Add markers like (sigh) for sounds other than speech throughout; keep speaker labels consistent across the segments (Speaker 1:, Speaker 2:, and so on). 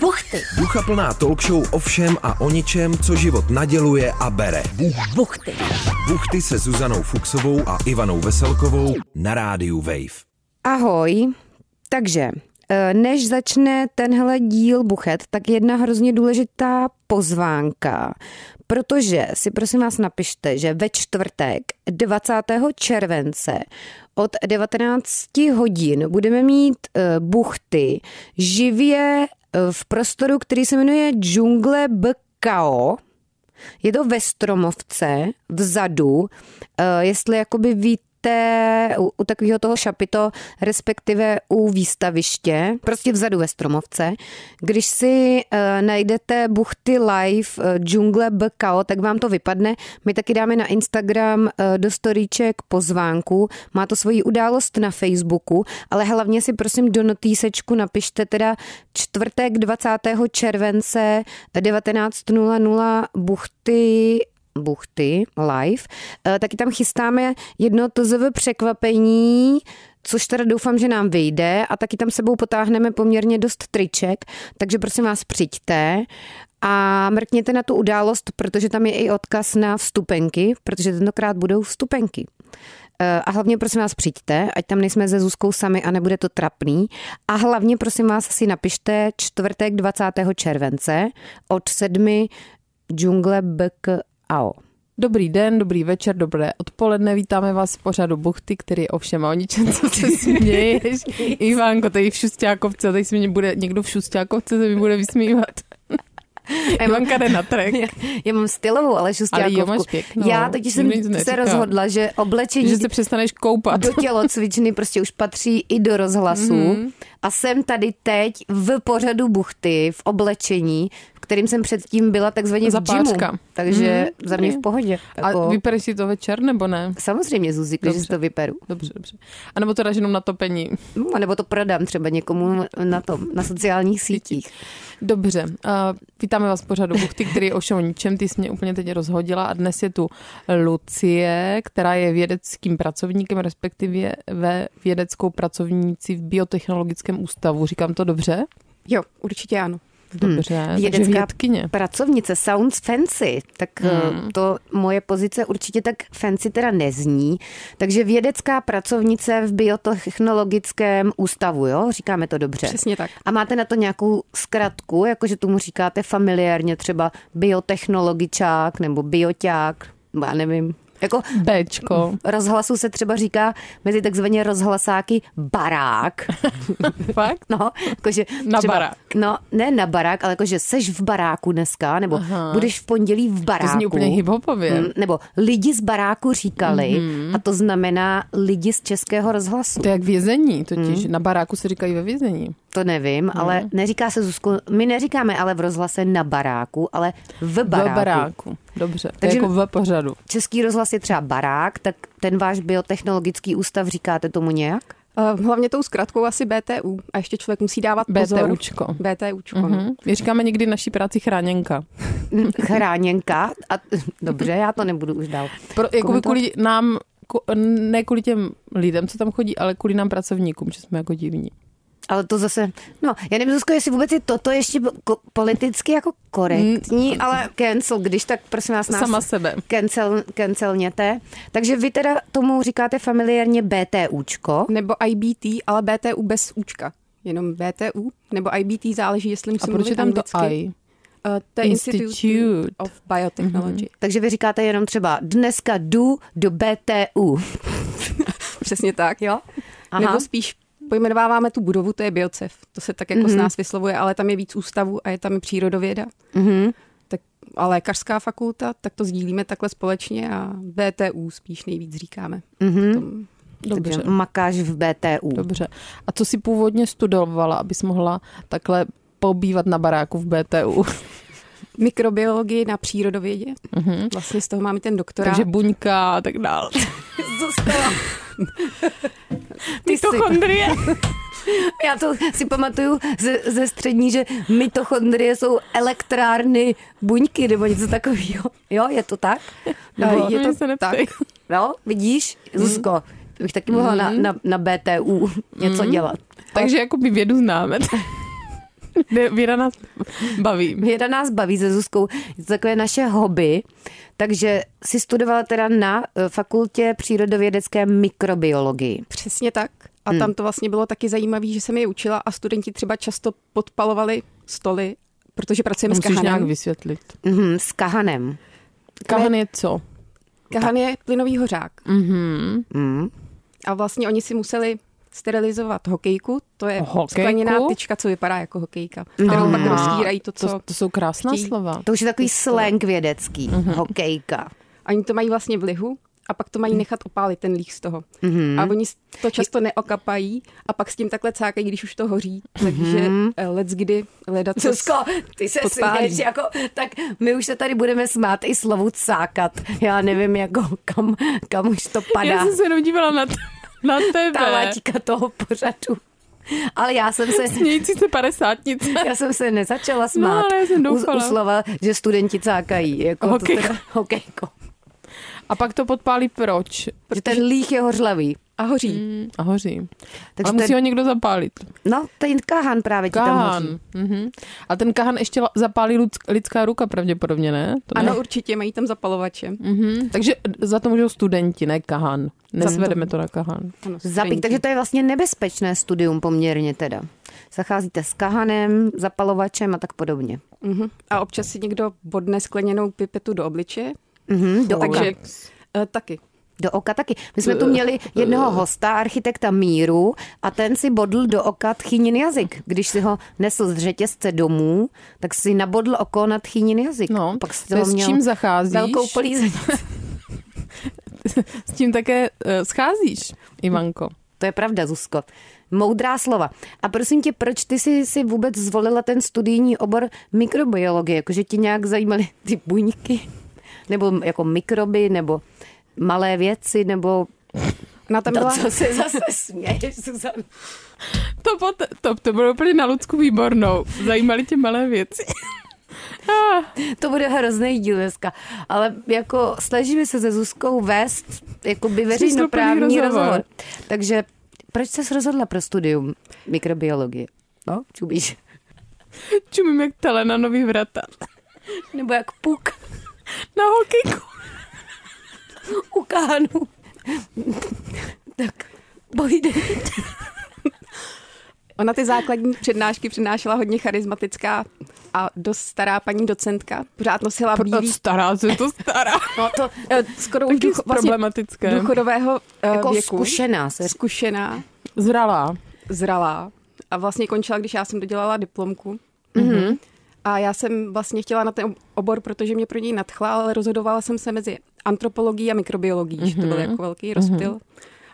Speaker 1: Buchty.
Speaker 2: Ducha plná talk show o všem a o ničem, co život naděluje a bere.
Speaker 1: Buchty.
Speaker 2: Buchty se Zuzanou Fuxovou a Ivanou Veselkovou na rádiu Wave.
Speaker 3: Ahoj. Takže, eh, než začne tenhle díl buchet, tak jedna hrozně důležitá pozvánka. Protože si prosím vás napište, že ve čtvrtek 20. července od 19 hodin budeme mít eh, buchty živě eh, v prostoru, který se jmenuje Džungle BKO. Je to ve Stromovce, vzadu, Eh, jestli jakoby víte u, u takového toho šapito, respektive u výstaviště, prostě vzadu ve Stromovce. Když si eh, najdete buchty live eh, džungle BKO, tak vám to vypadne. My taky dáme na Instagram eh, do storíček pozvánku, má to svoji událost na Facebooku, ale hlavně si prosím do notýsečku napište teda čtvrtek 20. července 19.00 buchty Buchty live, Eh, taky tam chystáme jedno TZV překvapení, což teda doufám, že nám vyjde a taky tam sebou potáhneme poměrně dost triček, takže prosím vás přijďte a mrkněte na tu událost, protože tam je i odkaz na vstupenky, protože tentokrát budou vstupenky. Eh, A hlavně prosím vás přijďte, ať tam nejsme se Zuzkou sami a nebude to trapný. A hlavně prosím vás si napište čtvrtek 20. července od 7 džungle BKAO.
Speaker 4: Dobrý den, dobrý večer, dobré odpoledne. Vítáme vás v pořadu Buchty, který je ovšem o ničem, co se (laughs) směješ. Ivánko, tady v Šustákovce, tady se mě bude, někdo v Šustákovce se mi bude vysmívat. Ivanka jde na (laughs) trek.
Speaker 3: Já mám stylovou, ale
Speaker 4: Ale
Speaker 3: šustákovku.
Speaker 4: jo, máš pěknou.
Speaker 3: Já totiž jsem
Speaker 4: Nic
Speaker 3: se
Speaker 4: neříkám.
Speaker 3: rozhodla, že oblečení
Speaker 4: Že se přestaneš koupat.
Speaker 3: do tělocvičny prostě už patří i do rozhlasu.
Speaker 4: Mhm.
Speaker 3: Mm-hmm. A jsem tady teď v pořadu buchty, v oblečení, v kterým jsem předtím byla takzvaně v gymu.
Speaker 4: Zapáčka.
Speaker 3: Takže
Speaker 4: Mhm.
Speaker 3: za mě v pohodě.
Speaker 4: A
Speaker 3: Jako,
Speaker 4: vypereš si to večer, nebo ne?
Speaker 3: Samozřejmě, Zuziko, že
Speaker 4: Dobře.
Speaker 3: si to vyperu.
Speaker 4: Dobře, dobře. A nebo to dáš jenom na topení.
Speaker 3: Hm, A nebo to prodám třeba někomu na tom, na sociálních sítích.
Speaker 4: Dobře, uh, vítáme vás v pořadu Buchty, který je ovšem o ničem, ty jsi mě úplně teď rozhodila a dnes je tu Lucie, která je vědeckým pracovníkem, respektive ve vědeckou pracovníci v biotechnologickém ústavu, říkám to dobře? Hmm.
Speaker 5: Jo, určitě ano.
Speaker 4: Dobře, takže
Speaker 3: Vědecká
Speaker 4: vědkyně.
Speaker 3: Pracovnice sounds fancy, tak hmm. to moje pozice určitě tak fancy teda nezní. Takže vědecká pracovnice v biotechnologickém ústavu, jo? Říkáme to dobře.
Speaker 5: Přesně tak.
Speaker 3: A máte na to nějakou zkratku, jakože tomu říkáte familiárně třeba biotechnologičák nebo bioťák, nebo já nevím. Jako
Speaker 4: Bčko.
Speaker 3: (laughs) rozhlasu se třeba říká mezi takzvaně rozhlasáky barák.
Speaker 4: (laughs) Fakt?
Speaker 3: No, jakože
Speaker 4: Na barák.
Speaker 3: No, ne na barák, ale jakože seš v baráku dneska, nebo Aha. budeš v pondělí v
Speaker 4: To
Speaker 3: baráku.
Speaker 4: zní úplně hiphopově. Mhm.
Speaker 3: Mm, Nebo lidi z baráku říkali, mm-hmm. a to znamená lidi z českého rozhlasu.
Speaker 4: To je jak vězení totiž. Na baráku se říkají ve vězení.
Speaker 3: To nevím,
Speaker 4: No.
Speaker 3: mm. ale neříká se Zuzku, my neříkáme ale v rozhlase na baráku, ale v baráku.
Speaker 4: Ve baráku. Dobře, to je
Speaker 3: Takže-
Speaker 4: jako ve pořadu.
Speaker 3: Český rozhlas je třeba barák, tak ten váš biotechnologický ústav říkáte tomu nějak?
Speaker 5: Eh, Hlavně tou zkratkou asi BTU. A ještě člověk musí dávat pozor.
Speaker 4: BTUčko.
Speaker 5: BTUčko. no.
Speaker 4: Mhm. My říkáme někdy naší práci chráněnka.
Speaker 3: Chráněnka? A, (laughs) dobře, já to nebudu už dál.
Speaker 4: Pro, jakoby
Speaker 3: komentovat.
Speaker 4: kvůli nám, ku- ne kvůli těm lidem, co tam chodí, ale kvůli nám pracovníkům, že jsme jako divní.
Speaker 3: Ale to zase, no, já nevím, Zuzko, jestli vůbec je toto ještě ko- politicky jako korektní, mm. ale cancel, když tak prosím vás nás
Speaker 4: Sama sebe.
Speaker 3: cancel, cancelněte. Takže vy teda tomu říkáte familiárně BTUčko.
Speaker 5: Nebo IBT, ale BTU bez účka. Jenom BTU, nebo IBT záleží, jestli
Speaker 4: A
Speaker 5: musím
Speaker 4: proč
Speaker 5: mluvit
Speaker 4: je tam to
Speaker 5: anglicky.
Speaker 4: I?
Speaker 5: Eh, to je
Speaker 4: Institute Mhm.
Speaker 5: Institute, of Biotechnology.
Speaker 3: Takže vy říkáte jenom třeba dneska jdu do BTU.
Speaker 5: Přesně tak.
Speaker 3: Jo? Aha.
Speaker 5: Aha. Nebo spíš pojmenováváme tu budovu, to je biocev. To se tak jako
Speaker 4: Mhm.
Speaker 5: mm-hmm. z nás vyslovuje, ale tam je víc ústavu a je tam i přírodověda.
Speaker 3: Mhm.
Speaker 5: Tak, a lékařská fakulta, tak to sdílíme takhle společně a BTU spíš nejvíc říkáme. Mm-hmm. Tom,
Speaker 4: Dobře.
Speaker 3: Takže makáš v BTU.
Speaker 4: Dobře. A co si původně studovala, abys mohla takhle pobývat na baráku v
Speaker 5: (laughs)
Speaker 4: BTU?
Speaker 5: mikrobiologii na přírodovědě. Mm-hmm. Vlastně z toho máme ten doktorát.
Speaker 4: Mhm. Takže buňka a tak
Speaker 5: (laughs)
Speaker 4: dál.
Speaker 3: Zůstala. Ty jsi,
Speaker 5: (laughs)
Speaker 4: Mitochondrie.
Speaker 3: já to si pamatuju ze, ze střední, že mitochondrie jsou elektrárny buňky nebo něco takového. Jo, je to tak?
Speaker 5: Nebo-
Speaker 4: Je to se neptej.
Speaker 3: No, vidíš, Zuzko, bych taky mohla na, na, na BTU něco dělat.
Speaker 5: (laughs)
Speaker 4: Takže jako by vědu známe. Ne, Věda nás baví.
Speaker 3: Věda nás baví se Zuzkou, je to takové naše hobby, takže si studovala teda na eh, fakultě přírodovědecké mikrobiologii.
Speaker 5: Přesně tak. A
Speaker 4: Hmm.
Speaker 5: tam to vlastně bylo taky zajímavé, že jsem je učila a studenti třeba často podpalovali stoly, protože pracujeme s
Speaker 4: Musíš nějak
Speaker 5: kahanem.
Speaker 4: vysvětlit.
Speaker 3: Mhm, s kahanem.
Speaker 4: Kahan je co?
Speaker 5: Kahan je plynový hořák.
Speaker 4: Mhm.
Speaker 3: Mm.
Speaker 5: A vlastně oni si museli sterilizovat hokejku, to je
Speaker 4: Hokejku?
Speaker 5: skleněná tyčka, co vypadá jako hokejka, kterou pak
Speaker 4: Aha.
Speaker 5: roztírají to, co...
Speaker 4: To, to jsou krásná
Speaker 5: chtějí.
Speaker 4: slova.
Speaker 3: To už je takový slang vědecký, hokejka.
Speaker 5: Oni to mají vlastně v lihu a pak to mají nechat opálit ten líh z toho. Mm-hmm. A oni s- to často neokapají a pak s tím takhle cákají, když už to hoří. Takže eh, let's kdy leda
Speaker 4: (laughs)
Speaker 5: co...
Speaker 3: Zuzko, ty se
Speaker 5: Podpálí.
Speaker 3: směješ jako, tak my už se tady budeme smát i slovu cákat. Já nevím, jako kam, kam už to padá.
Speaker 4: Já jsem se jenom dívala na, t- (laughs) na
Speaker 3: ta
Speaker 4: tebe.
Speaker 3: laťka toho pořadu. Ale já jsem se,
Speaker 4: Smějící se padesátnice.
Speaker 3: já jsem se nezačala smát.
Speaker 4: No, ale já jsem doufala.
Speaker 3: U, u slova, že studenti cákají. Jako
Speaker 4: Hokejko.
Speaker 3: To teda, (laughs) hokejko.
Speaker 4: A pak to podpálí proč?
Speaker 3: Protože ten líh je hořlavý.
Speaker 5: A hoří. Mm.
Speaker 4: A hoří.
Speaker 3: Takže
Speaker 4: Ale musí
Speaker 3: ten,
Speaker 4: ho někdo zapálit.
Speaker 3: No, ten kahan právě ti tam hoří.
Speaker 4: Kahan. Mhm. A ten kahan ještě la- zapálí ludsk- lidská ruka pravděpodobně, ne? To ne?
Speaker 5: Ano, určitě mají tam zapalovače.
Speaker 4: Mhm. Takže za to můžou studenti, ne kahan. Nesvedeme to na kahan.
Speaker 5: Ano,
Speaker 3: Zapít,
Speaker 5: studenti.
Speaker 3: takže to je vlastně nebezpečné studium poměrně teda. Zacházíte s kahanem, zapalovačem a tak podobně.
Speaker 5: Mhm. A občas si někdo bodne skleněnou pipetu do obličeje.
Speaker 3: Mhm, do, oka,
Speaker 5: Takže eh, taky.
Speaker 3: do oka taky. My jsme tu měli jednoho hosta, architekta Míru, a ten si bodl do oka tchýnin jazyk. Když si ho nesl z řetězce domů, tak si nabodl oko na tchýnin jazyk.
Speaker 4: No,
Speaker 3: Pak si
Speaker 4: to je
Speaker 3: toho
Speaker 4: s
Speaker 3: měl
Speaker 4: čím zacházíš?
Speaker 3: velkou polízení.
Speaker 4: S tím také eh, scházíš, Ivanko.
Speaker 3: (laughs) To je pravda, Zuzko. Moudrá slova. A prosím tě, proč ty jsi si vůbec zvolila ten studijní obor mikrobiologie? Jakože ti nějak zajímaly ty buňky? Nebo jako mikroby, nebo malé věci, nebo
Speaker 5: Ona tam
Speaker 3: to,
Speaker 5: byla...
Speaker 3: co se zase směješ, Zuzana.
Speaker 4: To, pot, to, to bylo úplně na Lucku výbornou. Zajímaly tě malé věci. (laughs) Ah.
Speaker 3: To bude hrozný díl dneska. Ale jako snažíme se se Zuzkou vést jakoby veřejnoprávní
Speaker 4: Smysluplný
Speaker 3: rozhovor.
Speaker 4: rozhovor.
Speaker 3: rozhovor. Takže proč jsi rozhodla pro studium mikrobiologie? No, čubíš.
Speaker 4: Čumím jak tele na nový vrata.
Speaker 3: Nebo jak puk
Speaker 4: Na hokejku.
Speaker 3: u kánu. tak pojde.
Speaker 5: Ona ty základní přednášky přednášela hodně charismatická a dost stará paní docentka. Pořád nosila bílý,
Speaker 4: Stará se to (laughs) stará.
Speaker 3: No to
Speaker 5: eh, skoro už
Speaker 4: Taky
Speaker 5: ducho, vlastně
Speaker 4: problematické.
Speaker 5: důchodového eh,
Speaker 3: jako
Speaker 5: věku.
Speaker 3: zkušená se.
Speaker 5: zkušená,
Speaker 4: Zralá.
Speaker 5: zralá a vlastně končila, když já jsem dodělala diplomku. Mm-hmm. A já jsem vlastně chtěla na ten obor, protože mě pro něj nadchla, ale rozhodovala jsem se mezi antropologií a mikrobiologií, mm-hmm. že to byl jako velký rozptyl. Mm-hmm.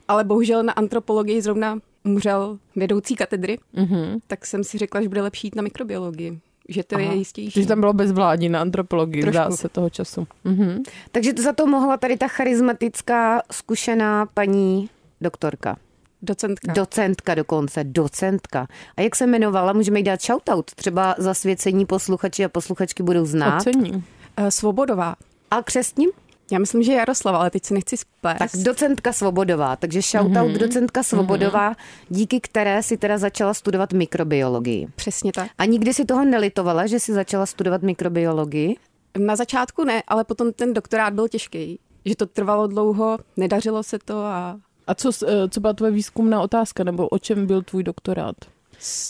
Speaker 5: Ale bohužel na antropologii zrovna umřel vedoucí katedry, mm-hmm. tak jsem si řekla, že bude lepší jít na mikrobiologii, že to Aha. je jistější.
Speaker 4: Že tam bylo bezvládí na antropologii,
Speaker 5: Trošku.
Speaker 4: zdá se toho času. Mhm.
Speaker 3: Takže to za to mohla tady ta charismatická, zkušená paní doktorka.
Speaker 5: Docentka.
Speaker 3: Docentka dokonce, docentka. A jak se jmenovala, můžeme jí dát shoutout. Třeba zasvěcení posluchači a posluchačky budou znát.
Speaker 4: Ocení.
Speaker 5: Eh, Svobodová.
Speaker 3: A křestním?
Speaker 5: Já myslím, že Jaroslava, ale teď se nechci splést.
Speaker 3: Tak docentka Svobodová. Takže shoutout mm-hmm. docentka Svobodová, díky které si teda začala studovat mikrobiologii.
Speaker 5: Přesně tak.
Speaker 3: A nikdy si toho nelitovala, že si začala studovat mikrobiologii?
Speaker 5: Na začátku ne, ale potom ten doktorát byl těžký. Že to trvalo dlouho, nedařilo se to a
Speaker 4: A co, s- eh, co byla tvoje výzkumná otázka, nebo o čem byl tvůj doktorát?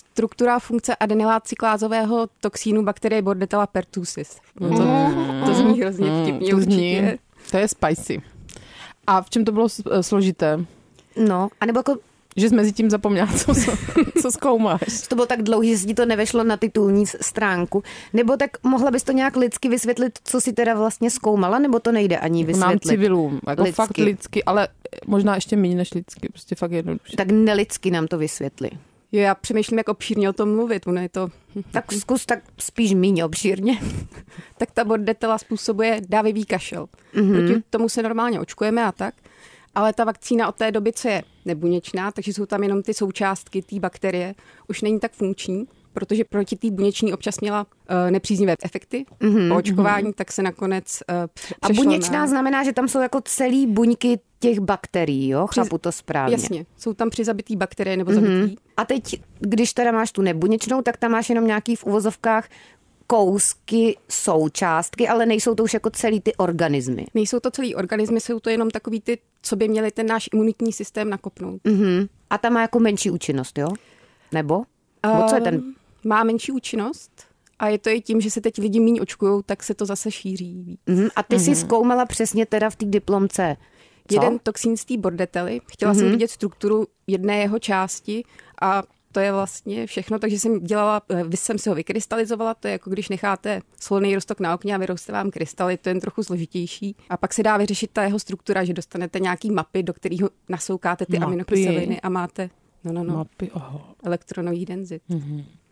Speaker 5: struktura a funkce adenylátcyklázového toxínu bakterie Bordetella pertussis. To, to zní hrozně vtipně
Speaker 4: Hmm, Mm-hmm. to zní,
Speaker 5: určitě.
Speaker 4: to je spicy. A v čem to bylo s- eh, složité?
Speaker 3: No, anebo jako
Speaker 4: Že jsi mezi tím zapomněla, co, co, co zkoumáš.
Speaker 3: to bylo tak dlouhý, že se ti to nevešlo na titulní s- stránku. Nebo tak mohla bys to nějak lidsky vysvětlit, co si teda vlastně zkoumala, nebo to nejde ani
Speaker 4: Nám
Speaker 3: vysvětlit?
Speaker 4: civilům, jako
Speaker 3: Lidsky.
Speaker 4: lidsky. fakt lidsky, ale eh, možná ještě méně než lidsky, prostě fakt jednoduše.
Speaker 3: Tak nelidsky nám to vysvětli.
Speaker 5: Jo, já přemýšlím, jak obšírně o tom mluvit. Ono je to...
Speaker 3: Tak zkus tak spíš míň obšírně.
Speaker 5: (laughs) Tak ta bordetela způsobuje dávivý kašel.
Speaker 3: Mhm.
Speaker 5: Mm-hmm. Proti tomu se normálně očkujeme a tak. Ale ta vakcína od té doby, co je nebuněčná, takže jsou tam jenom ty součástky té bakterie, už není tak funkční. protože proti té buněční občas měla eh, nepříznivé efekty mm-hmm. očkování, tak se nakonec eh, pře-
Speaker 3: Mhm, A
Speaker 5: přešlo
Speaker 3: buněčná
Speaker 5: na...
Speaker 3: znamená, že tam jsou jako celý buňky těch bakterií, jo? Chápu to správně. Mhm.
Speaker 5: Jasně, jsou tam přizabitý bakterie nebo zabitý. Mm-hmm.
Speaker 3: A teď, když teda máš tu nebuněčnou, tak tam máš jenom nějaký v uvozovkách kousky, součástky, ale nejsou to už jako celý ty organismy.
Speaker 5: Nejsou to celý organismy, jsou to jenom takový ty, co by měli ten náš imunitní systém nakopnout.
Speaker 3: Mhm. A ta má jako menší účinnost, jo? Nebo? Nebo co je ten?
Speaker 5: Ehm, Má menší účinnost a je to i tím, že se teď lidi méně očkují, tak se to zase šíří víc.
Speaker 3: Mhm. A ty jsi zkoumala přesně teda v té diplomce. Co? Mhm.
Speaker 5: Jeden toxín z té bordetely. Chtěla mm-hmm. jsem vidět strukturu jedné jeho části a to je vlastně všechno, takže jsem dělala, eh, vy jsem si ho vykrystalizovala, to je jako když necháte solný roztok na okně a vyroste vám krystaly, to je jen trochu složitější. A pak se dá vyřešit ta jeho struktura, že dostanete nějaký mapy, do kterých nasoukáte ty
Speaker 4: Mapy.
Speaker 5: mapy. aminokyseliny a máte no, no, no,
Speaker 4: Mapy, oho.
Speaker 5: elektronový denzit.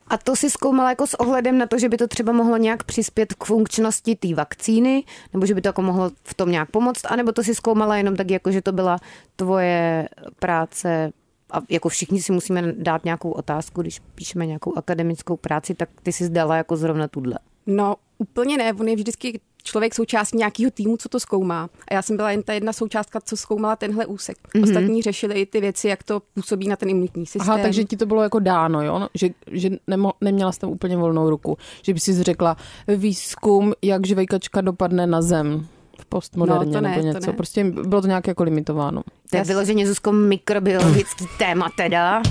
Speaker 3: A to si zkoumala jako s ohledem na to, že by to třeba mohlo nějak přispět k funkčnosti té vakcíny, nebo že by to jako mohlo v tom nějak pomoct, anebo to si zkoumala jenom tak, jako že to byla tvoje práce a jako všichni si musíme dát nějakou otázku, když píšeme nějakou akademickou práci, tak ty si zdala jako zrovna tuhle.
Speaker 5: No, úplně ne, on je vždycky člověk součástí nějakého týmu, co to zkoumá. A já jsem byla jen ta jedna součástka, co zkoumala tenhle úsek. Mm-hmm. Ostatní řešili i ty věci, jak to působí na ten imunitní systém.
Speaker 4: Mhm. Aha, takže ti to bylo jako dáno, jo? No, Že, že nemo, neměla jsi tam úplně volnou ruku. Že by si řekla výzkum, jak žvejkačka dopadne na zem v postmoderně
Speaker 5: No, to ne,
Speaker 4: nebo
Speaker 5: to
Speaker 4: něco.
Speaker 5: ne.
Speaker 4: Prostě bylo to nějak jako limitováno.
Speaker 3: To je
Speaker 5: Já si-
Speaker 3: vyloženě Zuzko
Speaker 4: (clears throat)
Speaker 3: mikrobiologický téma teda.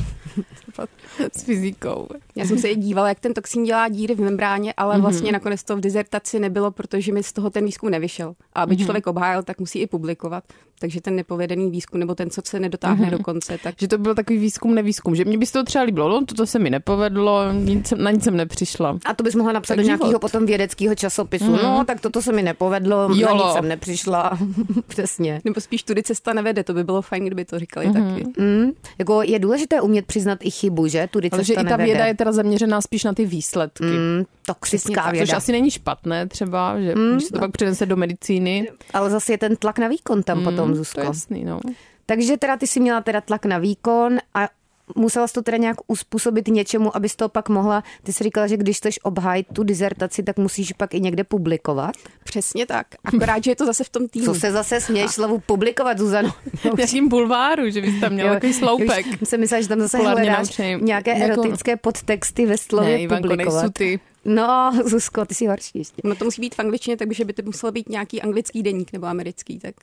Speaker 4: S fyzikou.
Speaker 5: Já jsem se i dívala, jak ten toxín dělá díry v membráně, ale
Speaker 4: Mhm.
Speaker 5: mm-hmm. vlastně nakonec to v dizertaci nebylo, protože mi z toho ten výzkum nevyšel. A
Speaker 4: Mhm.
Speaker 5: aby mm-hmm. člověk obhájil, tak musí i publikovat. Takže ten nepovedený výzkum, nebo ten, co se nedotáhne
Speaker 4: Mhm.
Speaker 5: mm-hmm. do konce, tak
Speaker 4: Že to byl takový výzkum, nevýzkum. Že mě by se to třeba líbilo. No, toto se mi nepovedlo, nic, jsem- na nic jsem nepřišla.
Speaker 3: A to bys mohla napsat
Speaker 4: Tak
Speaker 3: do
Speaker 4: život. Mhm.
Speaker 3: nějakého potom vědeckého časopisu. Mm. No, tak toto se mi nepovedlo, jo. na
Speaker 4: Jolo.
Speaker 3: nic jsem nepřišla. (laughs) Přesně.
Speaker 5: nebo spíš tudy cesta nevede, to by bylo fajn, kdyby to říkali
Speaker 4: Mhm.
Speaker 5: mm-hmm. taky.
Speaker 3: Mm, jako je důležité umět přiznat i chybu, že? Tudy
Speaker 4: Ale že
Speaker 3: cesta
Speaker 4: i ta
Speaker 3: nevede.
Speaker 4: věda je teda zaměřená spíš na ty výsledky.
Speaker 3: Mm,
Speaker 5: Přesně
Speaker 3: toxická
Speaker 5: tak,
Speaker 3: věda.
Speaker 4: Což asi není špatné třeba, že když se to pak přenese do medicíny,
Speaker 3: Ale zase je ten tlak na výkon tam mm, potom,
Speaker 4: to
Speaker 3: Zuzko.
Speaker 4: je jasný, no.
Speaker 3: Takže teda ty jsi měla teda tlak na výkon a musela jsi to teda nějak uspůsobit něčemu, abys to pak mohla, ty jsi říkala, že když chceš obhájit tu dizertaci, tak musíš pak i někde publikovat.
Speaker 5: Přesně tak. Akorát, že je to zase v tom týmu.
Speaker 3: Co se zase směješ slovu publikovat,
Speaker 4: (laughs)
Speaker 3: Zuzano?
Speaker 4: V nějakým bulváru, že bys tam měl No, takový sloupek.
Speaker 3: Už jsem myslela, že tam zase
Speaker 4: Polárně
Speaker 3: hledáš
Speaker 4: naučený.
Speaker 3: nějaké
Speaker 4: Jako-
Speaker 3: erotické podtexty ve slově
Speaker 4: Ne, Ivanko,
Speaker 3: publikovat.
Speaker 4: nejsou ty.
Speaker 3: No, Zuzko, ty jsi horší ještě.
Speaker 5: No to musí být v angličtině, takže by to musel být nějaký anglický deník nebo americký, tak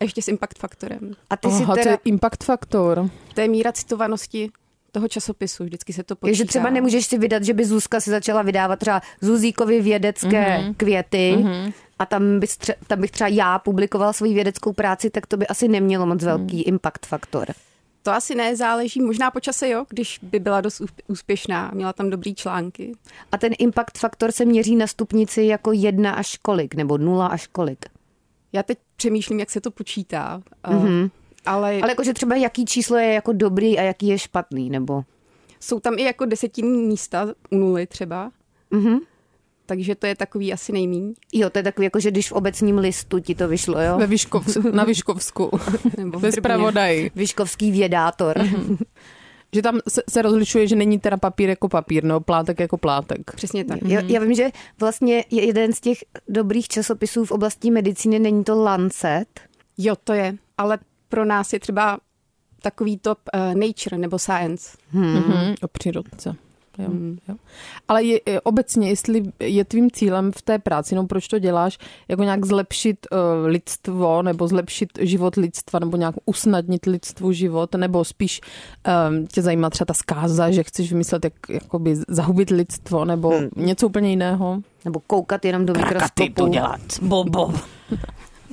Speaker 5: a ještě s impact faktorem.
Speaker 3: A ty jsi
Speaker 4: Aha,
Speaker 3: teda...
Speaker 4: to je impact faktor.
Speaker 5: To je míra citovanosti toho časopisu, vždycky se to počítá.
Speaker 3: Takže třeba nemůžeš si vydat, že by Zuzka si začala vydávat třeba Zuzíkovi vědecké mm-hmm. květy mm-hmm. a tam, bys tře- tam bych třeba já publikovala svoji vědeckou práci, tak to by asi nemělo moc velký mm. impact faktor.
Speaker 5: To asi ne, záleží možná po čase, jo, když by byla dost úsp- úspěšná a měla tam dobrý články.
Speaker 3: A ten impact faktor se měří na stupnici jako jedna až kolik, nebo nula až kolik.
Speaker 5: Já teď přemýšlím, jak se to počítá. Mm-hmm. Ale,
Speaker 3: Ale
Speaker 5: ale
Speaker 3: jakože třeba jaký číslo je jako dobrý a jaký je špatný, nebo...
Speaker 5: jsou tam i jako desetinní místa u nuly třeba. Mm-hmm. Takže to je takový asi nejmíň.
Speaker 3: Jo, to je takový, jako že když v obecním listu ti to vyšlo, jo?
Speaker 4: Ve Vyškovs- na (laughs) Vyškovsku.
Speaker 5: Nebo v
Speaker 4: Ve
Speaker 5: Brně.
Speaker 4: zpravodaji.
Speaker 3: Vyškovský vědátor.
Speaker 4: Že tam se, se rozlišuje, že není teda papír jako papír, no plátek jako plátek.
Speaker 5: Přesně tak.
Speaker 3: Já, já vím, že vlastně je jeden z těch dobrých časopisů v oblasti medicíny není to Lancet,
Speaker 5: Jo, to je. Ale pro nás je třeba takový top uh, Nature nebo Science.
Speaker 4: Mm-hmm. O přírodce. Jo, jo. Ale je, je, obecně, jestli je tvým cílem v té práci, no proč to děláš, jako nějak zlepšit uh, lidstvo, nebo zlepšit život lidstva, nebo nějak usnadnit lidstvu život, nebo spíš um, tě zajímá třeba ta zkáza, že chceš vymyslet, jak jakoby zahubit lidstvo, nebo hmm. něco úplně jiného?
Speaker 3: nebo koukat jenom do mikroskopu.
Speaker 4: bobo.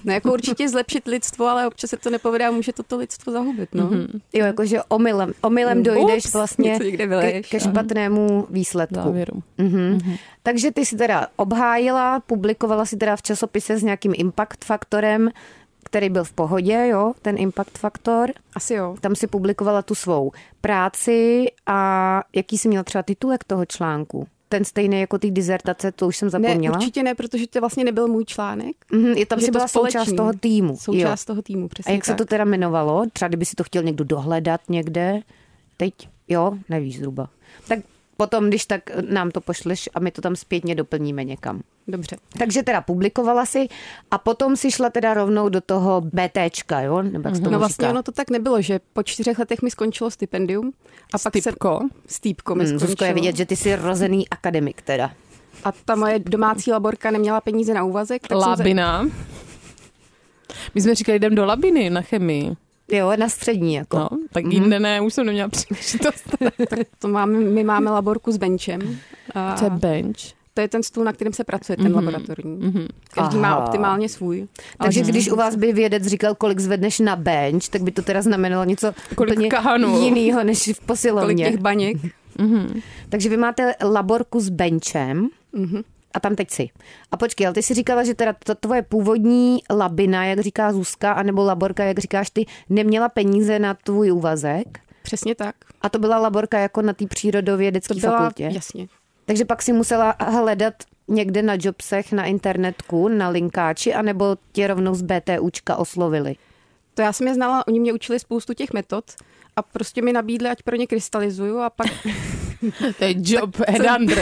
Speaker 5: No
Speaker 3: (laughs)
Speaker 5: jako určitě zlepšit lidstvo, ale občas se to nepovede a může to, to lidstvo zahubit. No. Mm-hmm.
Speaker 3: Jo, jakože omylem, omylem
Speaker 5: Ups,
Speaker 3: dojdeš vlastně
Speaker 5: něco někde
Speaker 3: ke,
Speaker 5: vyleješ,
Speaker 3: ke
Speaker 5: ano.
Speaker 3: špatnému výsledku.
Speaker 4: Závěru.
Speaker 3: Mhm. Takže ty si teda obhájila, publikovala si teda v časopise s nějakým impact faktorem, který byl v pohodě, jo, ten impact faktor.
Speaker 5: Asi jo.
Speaker 3: Tam si publikovala tu svou práci a jaký jsi měla třeba titulek toho článku? Ten stejný jako ty dizertace, to už jsem
Speaker 5: Ne,
Speaker 3: zapomněla.
Speaker 5: určitě ne, protože to vlastně nebyl můj článek.
Speaker 3: Mhm, je tam
Speaker 5: Je
Speaker 3: si
Speaker 5: to
Speaker 3: byla součást
Speaker 5: společný.
Speaker 3: toho týmu.
Speaker 5: Součást
Speaker 3: jo.
Speaker 5: toho týmu, přesně
Speaker 3: A jak
Speaker 5: tak.
Speaker 3: se to teda jmenovalo? Třeba kdyby si to chtěl někdo dohledat někde. Teď? Jo, nevíš zhruba. Tak Potom, když tak nám to pošleš a my to tam zpětně doplníme někam.
Speaker 5: Dobře.
Speaker 3: Takže teda publikovala si a potom si šla teda rovnou do toho BTčka, jo? Nebo jak se tomu
Speaker 5: No vlastně
Speaker 3: říká?
Speaker 5: ono to tak nebylo, že po čtyřech letech mi skončilo stipendium. A pak
Speaker 4: Stipko.
Speaker 5: se... Stýpko mi
Speaker 3: Hmm,
Speaker 5: skončilo.
Speaker 3: Zuzko je vidět, že ty jsi rozený akademik teda.
Speaker 5: A ta moje domácí laborka neměla peníze na úvazek. Tak jsem se...
Speaker 4: Labina. (laughs) My jsme říkali, jdem do labiny na chemii.
Speaker 3: Jo, na střední jako.
Speaker 4: No, tak mm-hmm. jinde ne, už jsem neměla příležitost.
Speaker 5: To máme, my máme laborku s benchem. A
Speaker 4: To je bench.
Speaker 5: to je ten stůl, na kterém se pracuje,
Speaker 4: Mhm.
Speaker 5: ten mm-hmm. laboratorní. Mm-hmm. Každý Aha. má
Speaker 3: Aha.
Speaker 5: optimálně svůj.
Speaker 3: Takže
Speaker 5: Ale-
Speaker 3: když u vás by vědec říkal, kolik zvedneš na bench, tak by to teda znamenalo něco
Speaker 4: Kolik
Speaker 3: úplně
Speaker 4: kahanů.
Speaker 3: jinýho než v
Speaker 5: Kolik
Speaker 3: posilovně.
Speaker 5: těch baněk. (laughs)
Speaker 3: Takže vy máte laborku s benchem mm-hmm. a tam teď si. A počkej, ale ty jsi říkala, že teda ta tvoje původní labina, jak říká Zuzka, anebo laborka, jak říkáš ty, neměla peníze na tvůj úvazek.
Speaker 5: Přesně tak.
Speaker 3: A to byla laborka jako na té
Speaker 5: To
Speaker 3: přírodovědecké
Speaker 5: byla,
Speaker 3: fakultě.
Speaker 5: jasně.
Speaker 3: Takže pak si musela hledat někde na jobsech, na internetku, na linkáči, anebo tě rovnou z BTUčka oslovili.
Speaker 5: To já jsem je znala, oni mě učili spoustu těch metod a prostě mi nabídli, ať pro ně krystalizuju
Speaker 4: (laughs)
Speaker 5: a pak
Speaker 4: To je job
Speaker 5: (laughs)
Speaker 4: Edandr.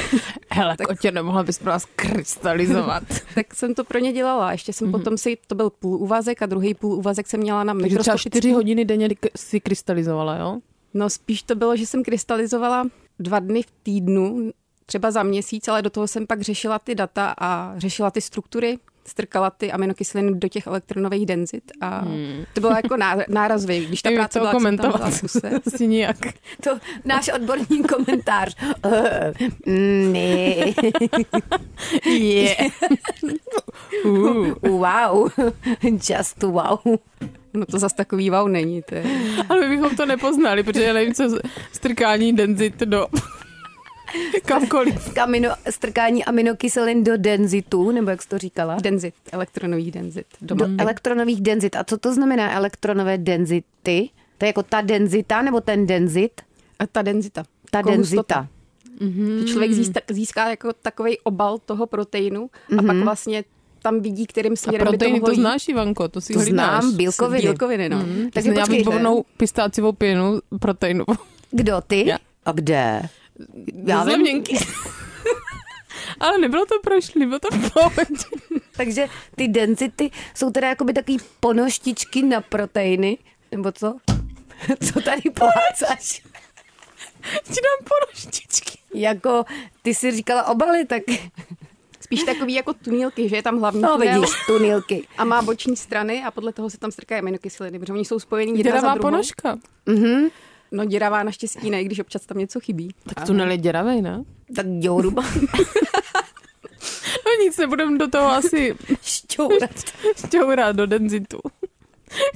Speaker 4: Hele, kotě, nemohla bys pro nás krystalizovat.
Speaker 5: (laughs) tak jsem to pro ně dělala. Ještě jsem mm-hmm. potom si, to byl půl úvazek a druhý půl úvazek jsem měla na
Speaker 4: Mhm. Takže třeba
Speaker 5: mikroskopický.
Speaker 4: čtyři hodiny denně k- si krystalizovala,
Speaker 5: (laughs)
Speaker 4: jo?
Speaker 5: No spíš to bylo, že jsem krystalizovala dva dny v týdnu, třeba za měsíc, ale do toho jsem pak řešila ty data a řešila ty struktury, strkala ty aminokyseliny do těch elektronových denzit a hmm. to bylo jako ná- nárazový, když ta
Speaker 4: Nevím, jak to
Speaker 5: práce byla, jak jsem tam
Speaker 4: komentovat.
Speaker 5: byla v kuse.
Speaker 4: Asi nijak.
Speaker 3: To náš odborný (laughs) komentář. Mm, ne,
Speaker 4: Je. Uh.
Speaker 3: wow, (laughs) just wow.
Speaker 5: No to zas takový wow není, to je.
Speaker 4: (laughs) Ale my bychom to nepoznali, protože já nevím, co z- strkání denzit do (laughs) kamkoliv.
Speaker 3: Kamino, strkání aminokyselin do denzitu, nebo jak jsi to říkala?
Speaker 5: Denzit, elektronový denzit.
Speaker 3: Do
Speaker 5: Doma.
Speaker 3: elektronových denzit. A co to znamená elektronové denzity? To je jako ta denzita nebo ten denzit?
Speaker 5: A ta denzita.
Speaker 3: Ta
Speaker 5: Jako hustota.
Speaker 3: denzita.
Speaker 5: Že člověk
Speaker 4: Hmm.
Speaker 5: získá, získá jako takový obal toho proteinu a
Speaker 3: Mhm.
Speaker 5: pak vlastně tam vidí, kterým
Speaker 4: A
Speaker 5: směrem by to
Speaker 4: proteiny
Speaker 5: mohlo
Speaker 4: to
Speaker 5: jít.
Speaker 4: znáš, Hmm. Ivanko, to si
Speaker 3: To
Speaker 4: hlídáš.
Speaker 3: znám, bílkoviny.
Speaker 5: Bílkoviny, no. Mm.
Speaker 3: Takže
Speaker 4: já
Speaker 3: počkej,
Speaker 4: výbornou pistáciovou pěnu proteinovou. (laughs)
Speaker 3: Kdo ty?
Speaker 4: Já.
Speaker 3: A kde? Já vím.
Speaker 4: Ze zlevněnky. Ale nebylo to prošlý, bylo to (laughs) No, v pohodě.
Speaker 3: (laughs) Takže ty density jsou teda jakoby takový ponoštičky na proteiny, nebo co? (laughs) Co tady pohácáš?
Speaker 4: Ti dám poroštičky.
Speaker 3: Jako, ty si říkala obaly, tak
Speaker 5: Spíš takový jako tunílky, že je tam hlavní
Speaker 3: no
Speaker 5: tunel
Speaker 3: vidíš, (laughs) tunilky.
Speaker 5: a má boční strany a podle toho se tam strkají aminokyseliny, protože oni jsou spojení jedna za
Speaker 4: Děravá
Speaker 5: druhou.
Speaker 4: ponožka.
Speaker 3: Mhm.
Speaker 5: No děravá naštěstí ne, i když občas tam něco chybí.
Speaker 4: Tak tunel je děravej,
Speaker 5: (laughs)
Speaker 4: ne?
Speaker 3: Tak (laughs) děruba,
Speaker 4: No nic, nebudem do toho asi
Speaker 3: šťoura.
Speaker 5: (laughs)
Speaker 4: šťourat do denzitu.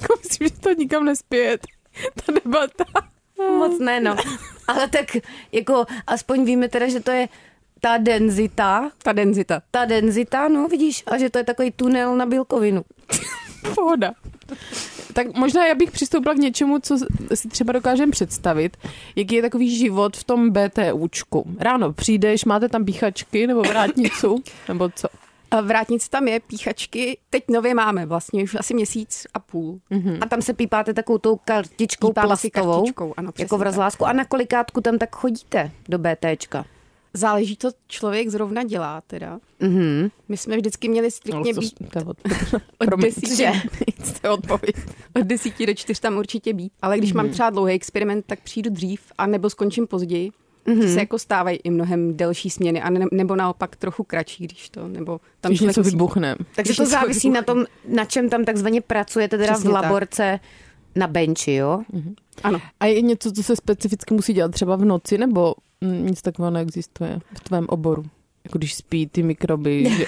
Speaker 4: Jako myslím, že to nikam nespět. Ta debata.
Speaker 3: Moc ne, no. Ale tak jako aspoň víme teda, že to je ta denzita,
Speaker 5: Ta denzita.
Speaker 3: ta denzita, no vidíš, a že to je takový tunel na bílkovinu.
Speaker 4: Pohoda. Tak možná já bych přistoupila k něčemu, co si třeba dokážem představit, jaký je takový život v tom BTUčku. Ráno přijdeš, máte tam píchačky nebo vrátnicu, nebo co?
Speaker 5: A vrátnice tam je, píchačky, teď nově máme vlastně, už asi měsíc a půl. Mm-hmm.
Speaker 3: A tam se pípáte takovou tou kartičkou
Speaker 5: Pípáme si
Speaker 3: plastovou,
Speaker 5: kartičkou, ano, přesně
Speaker 3: jako v
Speaker 5: tak.
Speaker 3: rozlásku. A na kolikátku tam tak chodíte do BTčka?
Speaker 5: Záleží to, člověk zrovna dělá teda.
Speaker 3: Mhm.
Speaker 5: My jsme vždycky měli striktně být
Speaker 4: to je od,
Speaker 5: od
Speaker 4: promiň.
Speaker 5: desíti,
Speaker 4: (laughs) Nic, to je odpověď. Mhm.
Speaker 5: od desíti do čtyř tam určitě být. Ale když mám třeba dlouhý experiment, tak přijdu dřív a nebo skončím později.
Speaker 4: Mhm.
Speaker 5: Mm-hmm. se jako stávají i mnohem delší směny, a ne, nebo naopak trochu kratší, když to, nebo tam
Speaker 4: Když
Speaker 5: člověk
Speaker 4: něco
Speaker 5: musí-
Speaker 4: vybuchne.
Speaker 3: Takže
Speaker 5: Když
Speaker 3: to
Speaker 5: něco
Speaker 3: závisí na tom, na čem tam takzvaně pracujete, teda
Speaker 5: Přesně
Speaker 3: v
Speaker 5: tak.
Speaker 3: laborce na benči, jo?
Speaker 5: Ano.
Speaker 4: A je něco, co se specificky musí dělat třeba v noci, nebo mm, nic takového neexistuje v tvém oboru? Jako když spí ty mikroby, že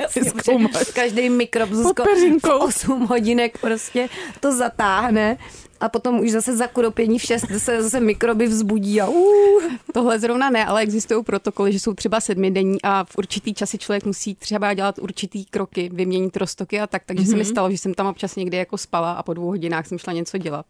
Speaker 3: Jasně,
Speaker 4: Zkoumáš.
Speaker 3: protože každý mikrob Zuzko,
Speaker 4: Pod peřinkou.
Speaker 3: v 8 hodinek prostě to zatáhne a potom už zase za kuropění v 6 se zase mikroby vzbudí a uh,
Speaker 5: Tohle zrovna ne, ale existují protokoly, že jsou třeba sedmidenní a v určitý časy člověk musí třeba dělat určitý kroky, vyměnit roztoky a tak. Takže mm-hmm. se mi
Speaker 4: Mhm.
Speaker 5: stalo, že jsem tam občas někde jako spala a po dvou hodinách jsem šla něco dělat.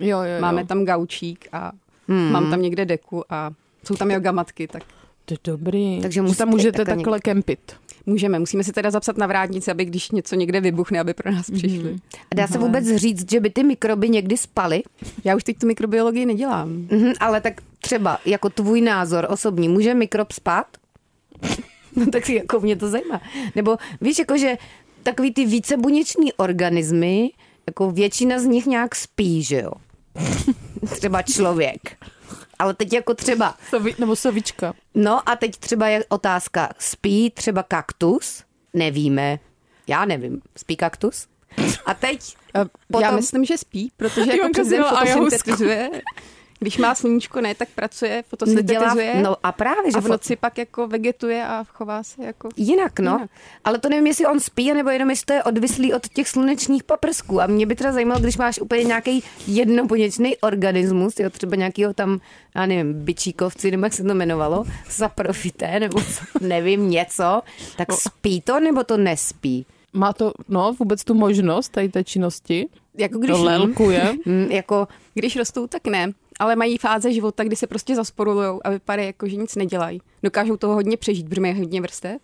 Speaker 4: jo, jo, Hmm. jo.
Speaker 5: Máme tam gaučík a mm. mám tam někde deku a jsou tam joga matky, tak
Speaker 4: To je dobrý.
Speaker 3: Takže
Speaker 4: Takže že
Speaker 3: musíte
Speaker 4: tam můžete
Speaker 3: takhle
Speaker 4: takhle kempit.
Speaker 5: Můžeme, musíme si teda zapsat na vrátnici, aby když něco někde vybuchne, aby pro nás
Speaker 3: Mhm.
Speaker 5: přišli.
Speaker 3: A dá se vůbec říct, že by ty mikroby někdy spaly?
Speaker 5: Já už teď tu mikrobiologii nedělám.
Speaker 3: Mhm, ale tak třeba jako tvůj názor osobní, může mikrob spát? No tak jako mě to zajímá. Nebo víš, jako že takový ty vícebuněční organismy, jako většina z nich nějak spí, že jo? (laughs) Třeba člověk. Ale teď jako třeba,
Speaker 4: Sovi, nebo sovička.
Speaker 3: no a teď třeba je otázka, spí třeba kaktus? Nevíme. Já nevím. Spí kaktus? A
Speaker 5: (laughs)
Speaker 3: teď
Speaker 5: Potom... Já
Speaker 3: potom...
Speaker 5: myslím, že spí,
Speaker 3: (laughs)
Speaker 5: protože jako
Speaker 4: Ivanka
Speaker 5: přes den
Speaker 4: zjela ayahuasku.
Speaker 5: fotosyntetizuje. Když má sluníčko, ne, tak pracuje,
Speaker 3: dělá,
Speaker 5: fotosyntetizuje.
Speaker 3: no a právě, že
Speaker 5: a v noci pak jako vegetuje a chová se jako...
Speaker 3: Jinak, no. Jinak.
Speaker 5: Jinak.
Speaker 3: Ale to nevím, jestli on spí, nebo jenom jestli to je odvislý od těch slunečních paprsků. A mě by teda zajímalo, když máš úplně nějaký jednobuněčný organismus, jo, třeba nějakýho tam, já nevím, byčíkovci, nebo jak se to jmenovalo, saprofité, nebo co, (laughs) nevím, něco, tak spí to, nebo to nespí?
Speaker 4: Má to, no, vůbec tu možnost tady té činnosti.
Speaker 3: No,
Speaker 5: Jako když,
Speaker 4: To (laughs) lelkuje.
Speaker 3: Hm, jako,
Speaker 5: když rostou, tak ne. Ale mají fáze života, kdy se prostě zasporulují a vypadají jako, že nic nedělají. Dokážou toho hodně přežít, protože mají hodně vrstev.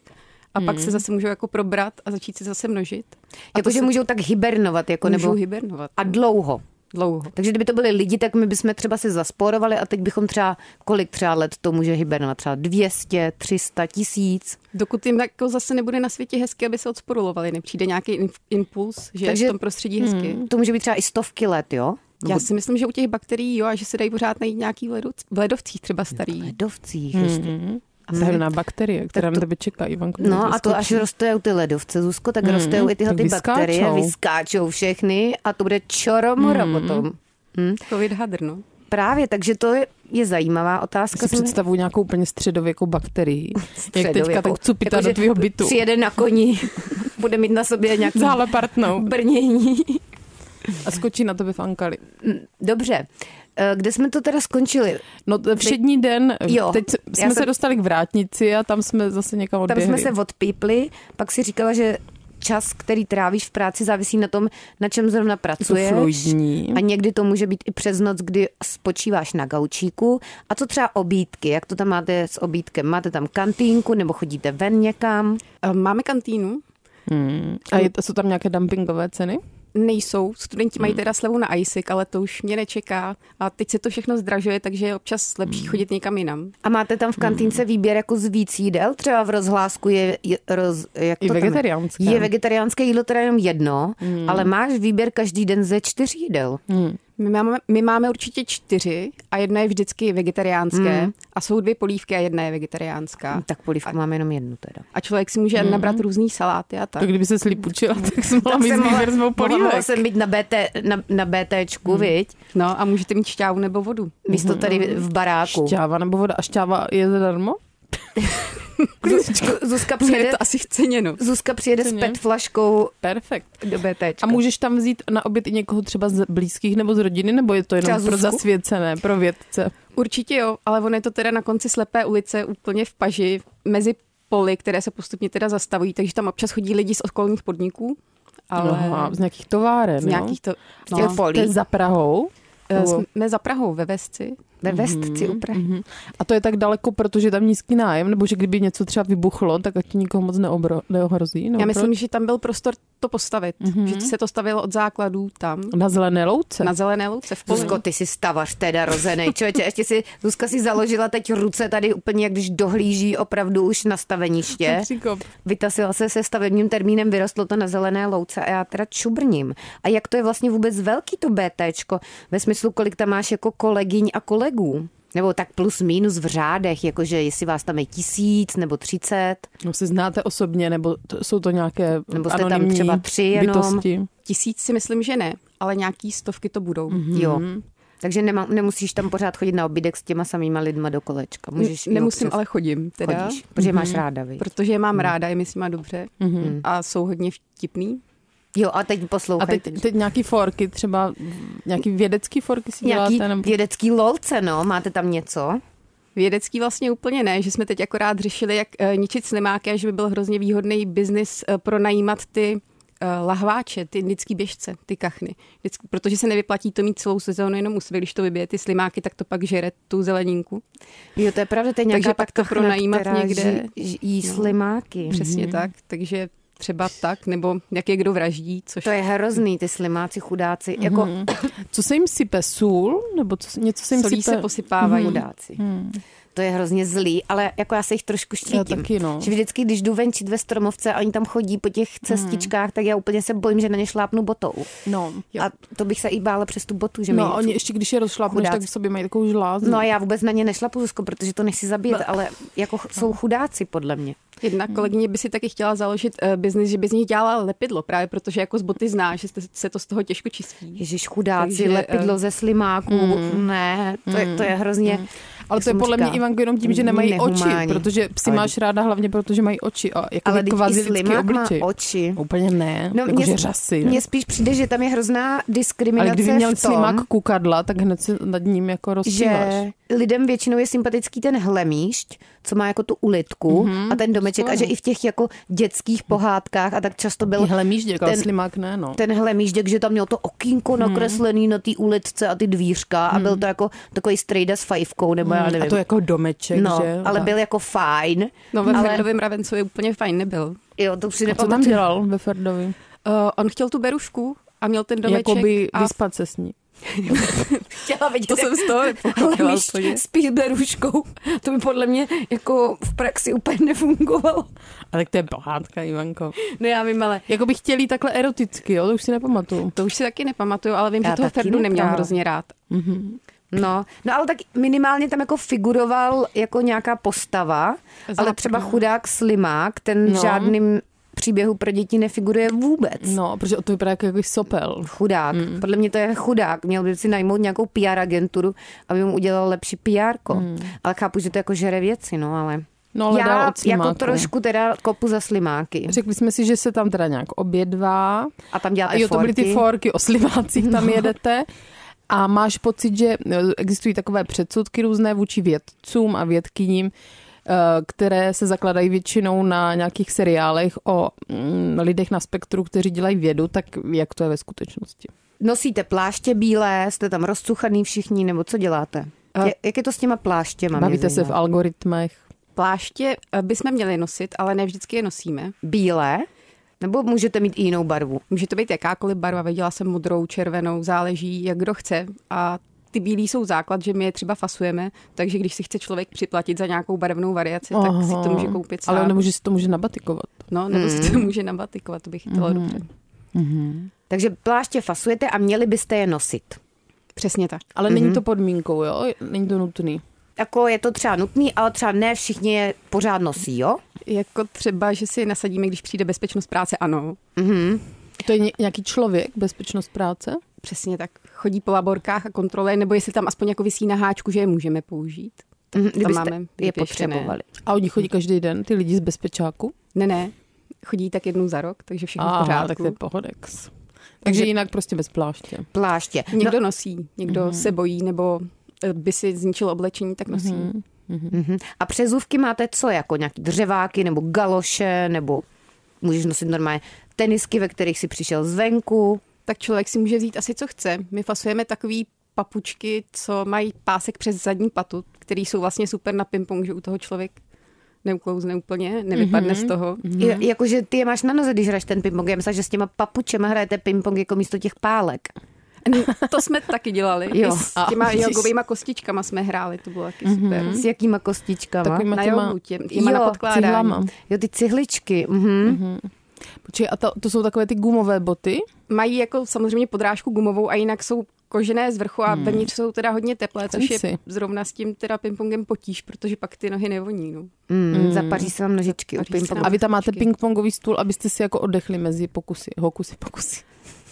Speaker 5: A pak se zase můžou jako probrat a začít se zase množit. A
Speaker 3: Mhm. jako
Speaker 5: to
Speaker 3: že
Speaker 5: se
Speaker 3: můžou tak hibernovat, jako,
Speaker 5: můžou
Speaker 3: nebo
Speaker 5: hibernovat.
Speaker 3: a dlouho.
Speaker 5: dlouho.
Speaker 3: Takže kdyby to byli lidi, tak my bychom třeba si zasporovali a teď bychom třeba, kolik třeba let to může hibernovat? Třeba 200, 300, tisíc?
Speaker 5: Dokud jim jako zase nebude na světě hezky, aby se odporulovali, nepřijde nějaký inf- impuls, že
Speaker 3: Takže- Hmm.
Speaker 5: Takže... je v tom prostředí hezky.
Speaker 3: To může být třeba i stovky let, jo?
Speaker 5: Já si myslím, že u těch bakterií jo, a že se dají pořád najít nějaký v ledoc- v ledovcích třeba starý.
Speaker 3: Ledovcích. Mm.
Speaker 4: A zelená bakterie, která na tebe čeká, Ivanko.
Speaker 3: No a to až rostou ty ledovce, Zuzko, tak mm. rostou i tyhle
Speaker 4: Mhm. tak
Speaker 3: ty bakterie,
Speaker 4: vyskáčou.
Speaker 3: vyskáčou všechny a to bude čoromoro
Speaker 4: Mhm.
Speaker 3: mm. potom.
Speaker 5: Covid hadr, no.
Speaker 3: Právě, takže to je, je zajímavá
Speaker 4: si
Speaker 3: otázka. Jsem-
Speaker 4: představuju nějakou úplně
Speaker 3: (laughs)
Speaker 4: středověkou bakterii. Jak
Speaker 3: středověkou.
Speaker 4: teďka tak cupita
Speaker 3: Jakože
Speaker 4: do tvýho bytu.
Speaker 3: Přijede na koni, (laughs) bude mít na sobě nějaký
Speaker 4: Zále partnou.
Speaker 3: brnění.
Speaker 4: A skočí na tebe v Ankali.
Speaker 3: Dobře, Eh, kde jsme to teda skončili?
Speaker 4: No t- všední den,
Speaker 3: Jo,
Speaker 4: jo, teď se-
Speaker 3: já jsem-
Speaker 4: jsme se dostali k vrátnici a tam jsme zase někam
Speaker 3: Tam
Speaker 4: odběhli.
Speaker 3: jsme se odpípli, pak si říkala, že čas, který trávíš v práci, závisí na tom, na čem zrovna pracuješ.
Speaker 4: fluidní.
Speaker 3: A někdy to může být i přes noc, kdy spočíváš na gaučíku. A co třeba obídky? Jak to tam máte s obídkem? Máte tam kantýnku nebo chodíte ven někam?
Speaker 5: A Máme kantýnu,
Speaker 4: Hmm. A je, jsou tam nějaké dumpingové ceny?
Speaker 5: nejsou. Studenti mají teda slevu na ISIC, ale to už mě nečeká. A teď se to všechno zdražuje, takže je občas lepší chodit někam jinam.
Speaker 3: A máte tam v
Speaker 4: Hmm.
Speaker 3: kantýnce výběr jako z víc jídel? Třeba v rozhlásku je, je roz, jak
Speaker 4: I
Speaker 3: to tam je?
Speaker 4: vegetariánské. Hmm.
Speaker 3: Je vegetariánské jídlo teda jenom jedno, ale máš výběr každý den ze čtyř jídel.
Speaker 5: My máme, my máme určitě čtyři a jedna je vždycky vegetariánské. A jsou dvě polívky a jedna je vegetariánská.
Speaker 3: Tak polívku máme jenom jednu teda.
Speaker 5: A člověk si může nabrat různý saláty a tak.
Speaker 4: Tak kdyby se slípučila, tak jsme mohla
Speaker 3: Tak
Speaker 4: mít
Speaker 3: jsem mohla-
Speaker 4: výběr z dvou
Speaker 3: mohla, mohla
Speaker 4: No, polívek.
Speaker 3: jsem být na, BT, na, na BTčku, hmm. viď?
Speaker 5: No a můžete mít šťávu nebo vodu.
Speaker 3: Místo tady v baráku.
Speaker 4: Šťáva nebo voda. A šťáva je zadarmo?
Speaker 3: Zuzka, (laughs) Zuzka
Speaker 5: Je
Speaker 3: přijede,
Speaker 5: to asi vceněno.
Speaker 3: Zuzka přijede s
Speaker 4: Ceně.
Speaker 3: pet flaškou
Speaker 4: Perfekt.
Speaker 3: do BTčka.
Speaker 4: A můžeš tam vzít na oběd i někoho třeba z blízkých nebo z rodiny, nebo je to jenom
Speaker 3: Třeba
Speaker 4: pro
Speaker 3: Zuzku?
Speaker 4: zasvěcené, pro vědce?
Speaker 5: Určitě jo, ale on je to teda na konci slepé ulice úplně v paži, mezi poli, které se postupně teda zastavují, takže tam občas chodí lidi z okolních podniků, ale
Speaker 3: No,
Speaker 4: Aha, No, z nějakých továren,
Speaker 5: z nějakých to...
Speaker 3: z no. těch
Speaker 4: no.
Speaker 3: polí.
Speaker 4: To je za Prahou.
Speaker 5: Eh, Jsme za Prahou ve Vesci.
Speaker 3: Ve Vestci u Prahy.
Speaker 4: A to je tak daleko, protože je tam nízký nájem, nebo že kdyby něco třeba vybuchlo, tak ať to nikoho moc neobro, neohrozí.
Speaker 3: No,
Speaker 4: Nebo
Speaker 5: Já myslím,
Speaker 4: proč?
Speaker 5: že tam byl prostor to postavit,
Speaker 3: Mhm.
Speaker 5: mm-hmm. že se to stavilo od základů tam,
Speaker 4: na zelené louce.
Speaker 5: na zelené louce v poli.
Speaker 3: Zuzko, ty jsi stavař teda rozený. Člověče, ještě si, Zuzka si založila teď ruce tady úplně, jak když dohlíží opravdu už na staveniště.
Speaker 4: Příkop.
Speaker 3: Vytasila se se stavebním termínem, vyrostlo to na zelené louce a já teda čubrním. A jak to je vlastně vůbec velký to BTčko, ve smyslu, kolik tam máš jako kolegyň a kolegů? Nebo tak plus minus v řádech, jakože jestli vás tam je tisíc nebo třicet.
Speaker 4: No, se znáte osobně, nebo to, jsou to nějaké
Speaker 3: Nebo jste tam
Speaker 4: anonymní
Speaker 3: třeba tři jenom?
Speaker 4: bytosti?
Speaker 5: Tisíc si myslím, že ne, ale nějaký stovky to budou. Mm-hmm.
Speaker 3: Jo.
Speaker 4: Mhm.
Speaker 3: Takže nemá, nemusíš tam pořád chodit na obídek s těma samýma lidma do kolečka. Můžeš jít
Speaker 5: Nemusím,
Speaker 3: občas.
Speaker 5: ale chodím teda,
Speaker 3: Chodíš, protože máš
Speaker 4: Mhm.
Speaker 3: ráda, víš.
Speaker 5: protože je
Speaker 3: Hmm.
Speaker 5: mám ráda, je mi s nima dobře
Speaker 3: Mhm.
Speaker 5: mm-hmm. a jsou hodně vtipný.
Speaker 3: Jo, a teď
Speaker 4: A
Speaker 3: poslouchej.
Speaker 4: teď, teď nějaký forky, třeba nějaký vědecký forky si děláte?
Speaker 3: Nějaký
Speaker 4: Nějaký... Nebo...
Speaker 3: vědecký lolce, no, máte tam něco?
Speaker 5: Vědecký vlastně úplně ne, že jsme teď akorát řešili, jak eh, ničit slimáky a že by byl hrozně výhodný biznis eh, pronajímat ty uh, lahváče, ty indický běžce, ty kachny. Vždycky, protože se nevyplatí to mít celou sezónu jenom u sebe, když to vybije ty slimáky, tak to pak žere tu zeleninku.
Speaker 3: Jo, to je pravda, to je nějaká
Speaker 5: Takže pak to
Speaker 3: kachna,
Speaker 5: pronajímat
Speaker 3: která
Speaker 5: někde.
Speaker 3: Ži, ži, jí
Speaker 5: No.
Speaker 3: slimáky.
Speaker 5: Přesně tak, takže třeba tak, nebo jak je kdo vraždí, což
Speaker 3: To je hrozný, ty slimáci, chudáci,
Speaker 5: Mhm.
Speaker 3: mm-hmm. jako
Speaker 4: Co se jim sype? Sůl? Nebo co, něco se jim
Speaker 5: solí
Speaker 4: sype?
Speaker 5: se posypávají.
Speaker 3: chudáci.
Speaker 5: Mhm.
Speaker 3: Mm. To je hrozně zlý, ale jako já se jich trošku
Speaker 4: Já
Speaker 3: štítím.
Speaker 4: taky, no.
Speaker 3: Že vždycky, když jdu venčit ve stromovce a oni tam chodí po těch
Speaker 5: Mhm.
Speaker 3: cestičkách, tak já úplně se bojím, že na ně šlápnu botou.
Speaker 4: no.
Speaker 3: A to bych se i bála přes tu botu, že mi
Speaker 4: No, oni ještě, když je rozšlápneš,
Speaker 3: Chudáci.
Speaker 4: tak v sobě mají takovou žlázu.
Speaker 3: No a já vůbec na ně nešlapu, Zuzko, protože to nechci zabít,
Speaker 5: No.
Speaker 3: ale jako ch- jsou chudáci podle mě.
Speaker 5: Jedna
Speaker 3: Hmm.
Speaker 5: kolegyně by si taky chtěla založit uh, biznis, že by z nich dělala lepidlo, právě protože jako z boty zná, že jste- se to z toho těžko čistí.
Speaker 3: Ježíš, chudáci,
Speaker 5: Takže,
Speaker 3: Takže,
Speaker 4: eh,
Speaker 3: lepidlo ze slimáků, mm, ne, to, je, to je hrozně... Mm.
Speaker 4: Ale to je podle mě, Ivanko, jenom tím, že nemají oči, protože psy
Speaker 3: Ale-
Speaker 4: máš ráda hlavně, protože mají oči a jako
Speaker 3: Ale
Speaker 4: ale
Speaker 3: teď i
Speaker 4: kvazi lidský
Speaker 3: slimák má
Speaker 4: obličej.
Speaker 3: oči.
Speaker 4: Úplně ne, no, jako, že řasy.
Speaker 3: mně spíš přijde, že tam je hrozná diskriminace
Speaker 4: ale kdyby měl
Speaker 3: v tom,
Speaker 4: slimák kukadla, tak hned se nad ním jako
Speaker 3: že
Speaker 4: rozčíváš.
Speaker 3: lidem většinou je sympatický ten hlemíšť, co má jako tu ulitku
Speaker 4: Mhm,
Speaker 3: mm-hmm, a ten domeček a že i v těch jako dětských pohádkách a tak často byl
Speaker 4: Hlemížděk, ale
Speaker 3: ten-
Speaker 4: slimák ne, no.
Speaker 3: ten hlemížděk, že tam měl to
Speaker 4: Mhm.
Speaker 3: okýnko nakreslený na té uličce a ty dvířka a byl to jako takový strejda s fajfkou, nebo já nevím.
Speaker 4: A to jako domeček,
Speaker 3: no,
Speaker 4: že?
Speaker 3: ale
Speaker 4: Tak.
Speaker 3: byl jako fajn.
Speaker 5: No ve
Speaker 3: ale-
Speaker 5: ale... Ferdovém Ravencu je úplně fajn nebyl.
Speaker 3: Jo, to si
Speaker 4: A co tam
Speaker 3: nepamatuju.
Speaker 4: dělal ve Ferdovi?
Speaker 5: Uh, on chtěl tu berušku a měl ten domeček
Speaker 4: Jakoby
Speaker 5: a
Speaker 4: vyspat se s ní.
Speaker 3: Chtěla vidět,
Speaker 5: to jsem z
Speaker 3: (laughs)
Speaker 5: toho nepochopila.
Speaker 3: hlemíšť
Speaker 5: úplně.
Speaker 3: s píberuškou. To by podle mě jako v praxi úplně nefungovalo.
Speaker 4: A tak to je pohádka, Ivanko.
Speaker 3: No já vím, ale
Speaker 4: Jako bych chtěli takhle eroticky, jo, to už si nepamatuju.
Speaker 5: To už si taky nepamatuju, ale vím,
Speaker 3: Já
Speaker 5: že toho
Speaker 3: taky
Speaker 5: Ferdu neměl
Speaker 3: neprávě.
Speaker 5: hrozně rád.
Speaker 3: No, no ale tak minimálně tam jako figuroval jako nějaká postava,
Speaker 5: Západ,
Speaker 3: ale třeba chudák Slimák, ten v
Speaker 4: No.
Speaker 3: žádným příběhu pro děti nefiguruje vůbec.
Speaker 4: No, protože to vypadá jako jaký sopel.
Speaker 3: Chudák. Mm. Podle mě to je chudák. Měl by si najmout nějakou PR agenturu, aby mu udělal lepší PR. Mm. Ale chápu, že to jako žere věci, no ale...
Speaker 4: No, ale dál
Speaker 3: Já
Speaker 4: od
Speaker 3: jako
Speaker 4: Slimáku.
Speaker 3: trošku teda kopu za slimáky.
Speaker 4: Řekli jsme si, že se tam teda nějak obědvá.
Speaker 3: A tam děláte
Speaker 4: A jo, to byly ty
Speaker 3: forky.
Speaker 4: forky, o slimácích tam jedete. A máš pocit, že no, existují takové předsudky různé vůči vědcům a vědkyním, eh, které se zakladají většinou na nějakých seriálech o mm, lidech na spektru, kteří dělají vědu, tak jak to je ve skutečnosti?
Speaker 3: Nosíte pláště bílé, jste tam rozcuchaný všichni, nebo co děláte?
Speaker 5: A-
Speaker 3: Je- Jak je to s těma pláštěma? mě
Speaker 4: Bavíte se v
Speaker 3: zajímá?
Speaker 4: algoritmech?
Speaker 5: Pláště eh, bychom měli nosit, ale ne vždycky je nosíme.
Speaker 3: Bílé? Nebo můžete mít i jinou barvu?
Speaker 5: Může to být jakákoliv barva, viděla jsem modrou, červenou, záleží jak kdo chce a ty bílí jsou základ, že my je třeba fasujeme, takže když si chce člověk připlatit za nějakou barevnou variaci, Aha, tak si to může koupit sám.
Speaker 4: Ale nemůže Hmm. si to může nabatikovat.
Speaker 5: No, nebo si to může nabatikovat, to bych chytala
Speaker 4: Hmm.
Speaker 5: mm. dobře.
Speaker 3: Takže pláště fasujete a měli byste je nosit.
Speaker 5: Přesně tak.
Speaker 4: Ale mm-hmm. není to podmínkou, jo? Není to nutný.
Speaker 3: Jako je to třeba nutný, ale třeba ne všichni je pořád nosí, jo?
Speaker 5: Jako třeba, že si nasadíme, když přijde bezpečnost práce, ano.
Speaker 4: To je ně- nějaký člověk, bezpečnost práce?
Speaker 5: Přesně tak. Chodí po laborkách a kontroluje, nebo jestli tam aspoň jako vysí na háčku, že je můžeme použít.
Speaker 3: Mhm,
Speaker 5: Tam
Speaker 3: Kdybyste
Speaker 5: máme
Speaker 3: je
Speaker 5: vypěštěné.
Speaker 3: potřebovali.
Speaker 4: A oni chodí každý den, ty lidi z bezpečáku?
Speaker 5: Ne, ne. Chodí tak jednou za rok, takže všechno v
Speaker 4: Aha,
Speaker 5: pořádku.
Speaker 4: tak to je pohodex. Takže jinak prostě bez pláště.
Speaker 3: Pláště. No,
Speaker 5: Někdo nosí, někdo mm-hmm. se bojí, nebo eh, by si zničil oblečení, tak nosí. Mm-hmm.
Speaker 3: mhm. a přezůvky máte co? Jako nějaký dřeváky nebo galoše nebo můžeš nosit normálně tenisky, ve kterých si přišel zvenku.
Speaker 5: Tak člověk si může vzít asi co chce. My fasujeme takový papučky, co mají pásek přes zadní patu, který jsou vlastně super na ping že u toho člověk neuklouzne úplně, nevypadne mm-hmm. z toho.
Speaker 3: Mm-hmm. Jakože ty je máš na noze, když hraješ ten ping Já myslím, že s těma papučema hrajete ping jako místo těch pálek.
Speaker 5: To jsme taky dělali.
Speaker 3: Jo.
Speaker 5: Jo. I s těma jogovými kostičkama jsme hráli, to bylo taky super. Mm-hmm.
Speaker 3: S jakýma kostičkama?
Speaker 4: Takovýma
Speaker 5: Na
Speaker 4: těma-
Speaker 5: jogu, tě, těma na podkládání.
Speaker 4: cihlama.
Speaker 3: Jo, ty cihličky. Mhm.
Speaker 4: Počkej, a to, to jsou takové ty gumové boty?
Speaker 5: Mají jako samozřejmě podrážku gumovou a jinak jsou kožené z vrchu
Speaker 3: Hmm.
Speaker 5: a vevnitř jsou teda hodně teplé, což
Speaker 4: Fancy.
Speaker 5: je zrovna s tím teda pingpongem potíž, protože pak ty nohy nevoní. No.
Speaker 3: Mm, mm. Zapaří se vám nožičky u
Speaker 5: Zapaří se
Speaker 3: ping
Speaker 5: nám.
Speaker 4: A vy tam máte pingpongový stůl, abyste si jako oddechli mezi pokusy, hokusy, pokusy.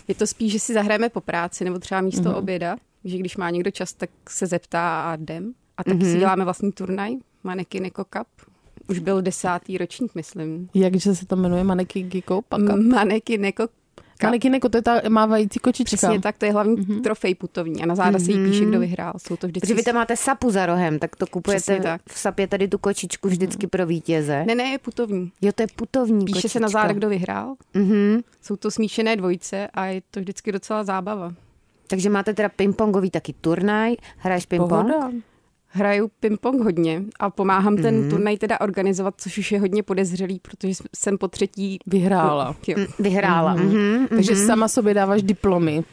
Speaker 5: Je to spíš, že si zahrajeme po práci nebo třeba místo
Speaker 3: Mhm.
Speaker 5: mm-hmm. oběda, že když má někdo čas, tak se zeptá a jdem. A taky
Speaker 3: Mhm.
Speaker 5: mm-hmm. si děláme vlastní turnaj, Manekine Cup. Už byl desátý ročník, myslím. Mm,
Speaker 4: Jakže se to jmenuje? Maneky Giko Paka?
Speaker 5: Manekine Cup.
Speaker 4: Manikinek,
Speaker 5: Manikinek.
Speaker 4: to je ta mávající kočička.
Speaker 5: Přesně tak, to je hlavní mm-hmm. trofej putovní a na záda mm-hmm. se jí píše, kdo vyhrál. Jsou to vždycky...
Speaker 3: Protože Mhm. vy tam máte sapu za rohem, tak to kupujete
Speaker 5: Přesně tak.
Speaker 3: v sapě tady tu kočičku vždycky pro vítěze.
Speaker 5: Ne, ne, je putovní.
Speaker 3: Jo, to je putovní
Speaker 5: Píše
Speaker 3: kočička.
Speaker 5: se na záda, kdo vyhrál.
Speaker 3: Mhm.
Speaker 5: Jsou to smíšené dvojice a je to vždycky docela zábava.
Speaker 3: Takže máte teda pingpongový taky turnaj, hraješ pingpong?
Speaker 4: Pohoda.
Speaker 5: Hraju ping-pong hodně a pomáhám ten mm. turnaj teda organizovat, což už je hodně podezřelý, protože jsem- jsem po třetí
Speaker 4: (laughs) Vyhrála.
Speaker 5: Jo.
Speaker 3: Vyhrála. Mhm.
Speaker 4: Takže sama sobě dáváš diplomy.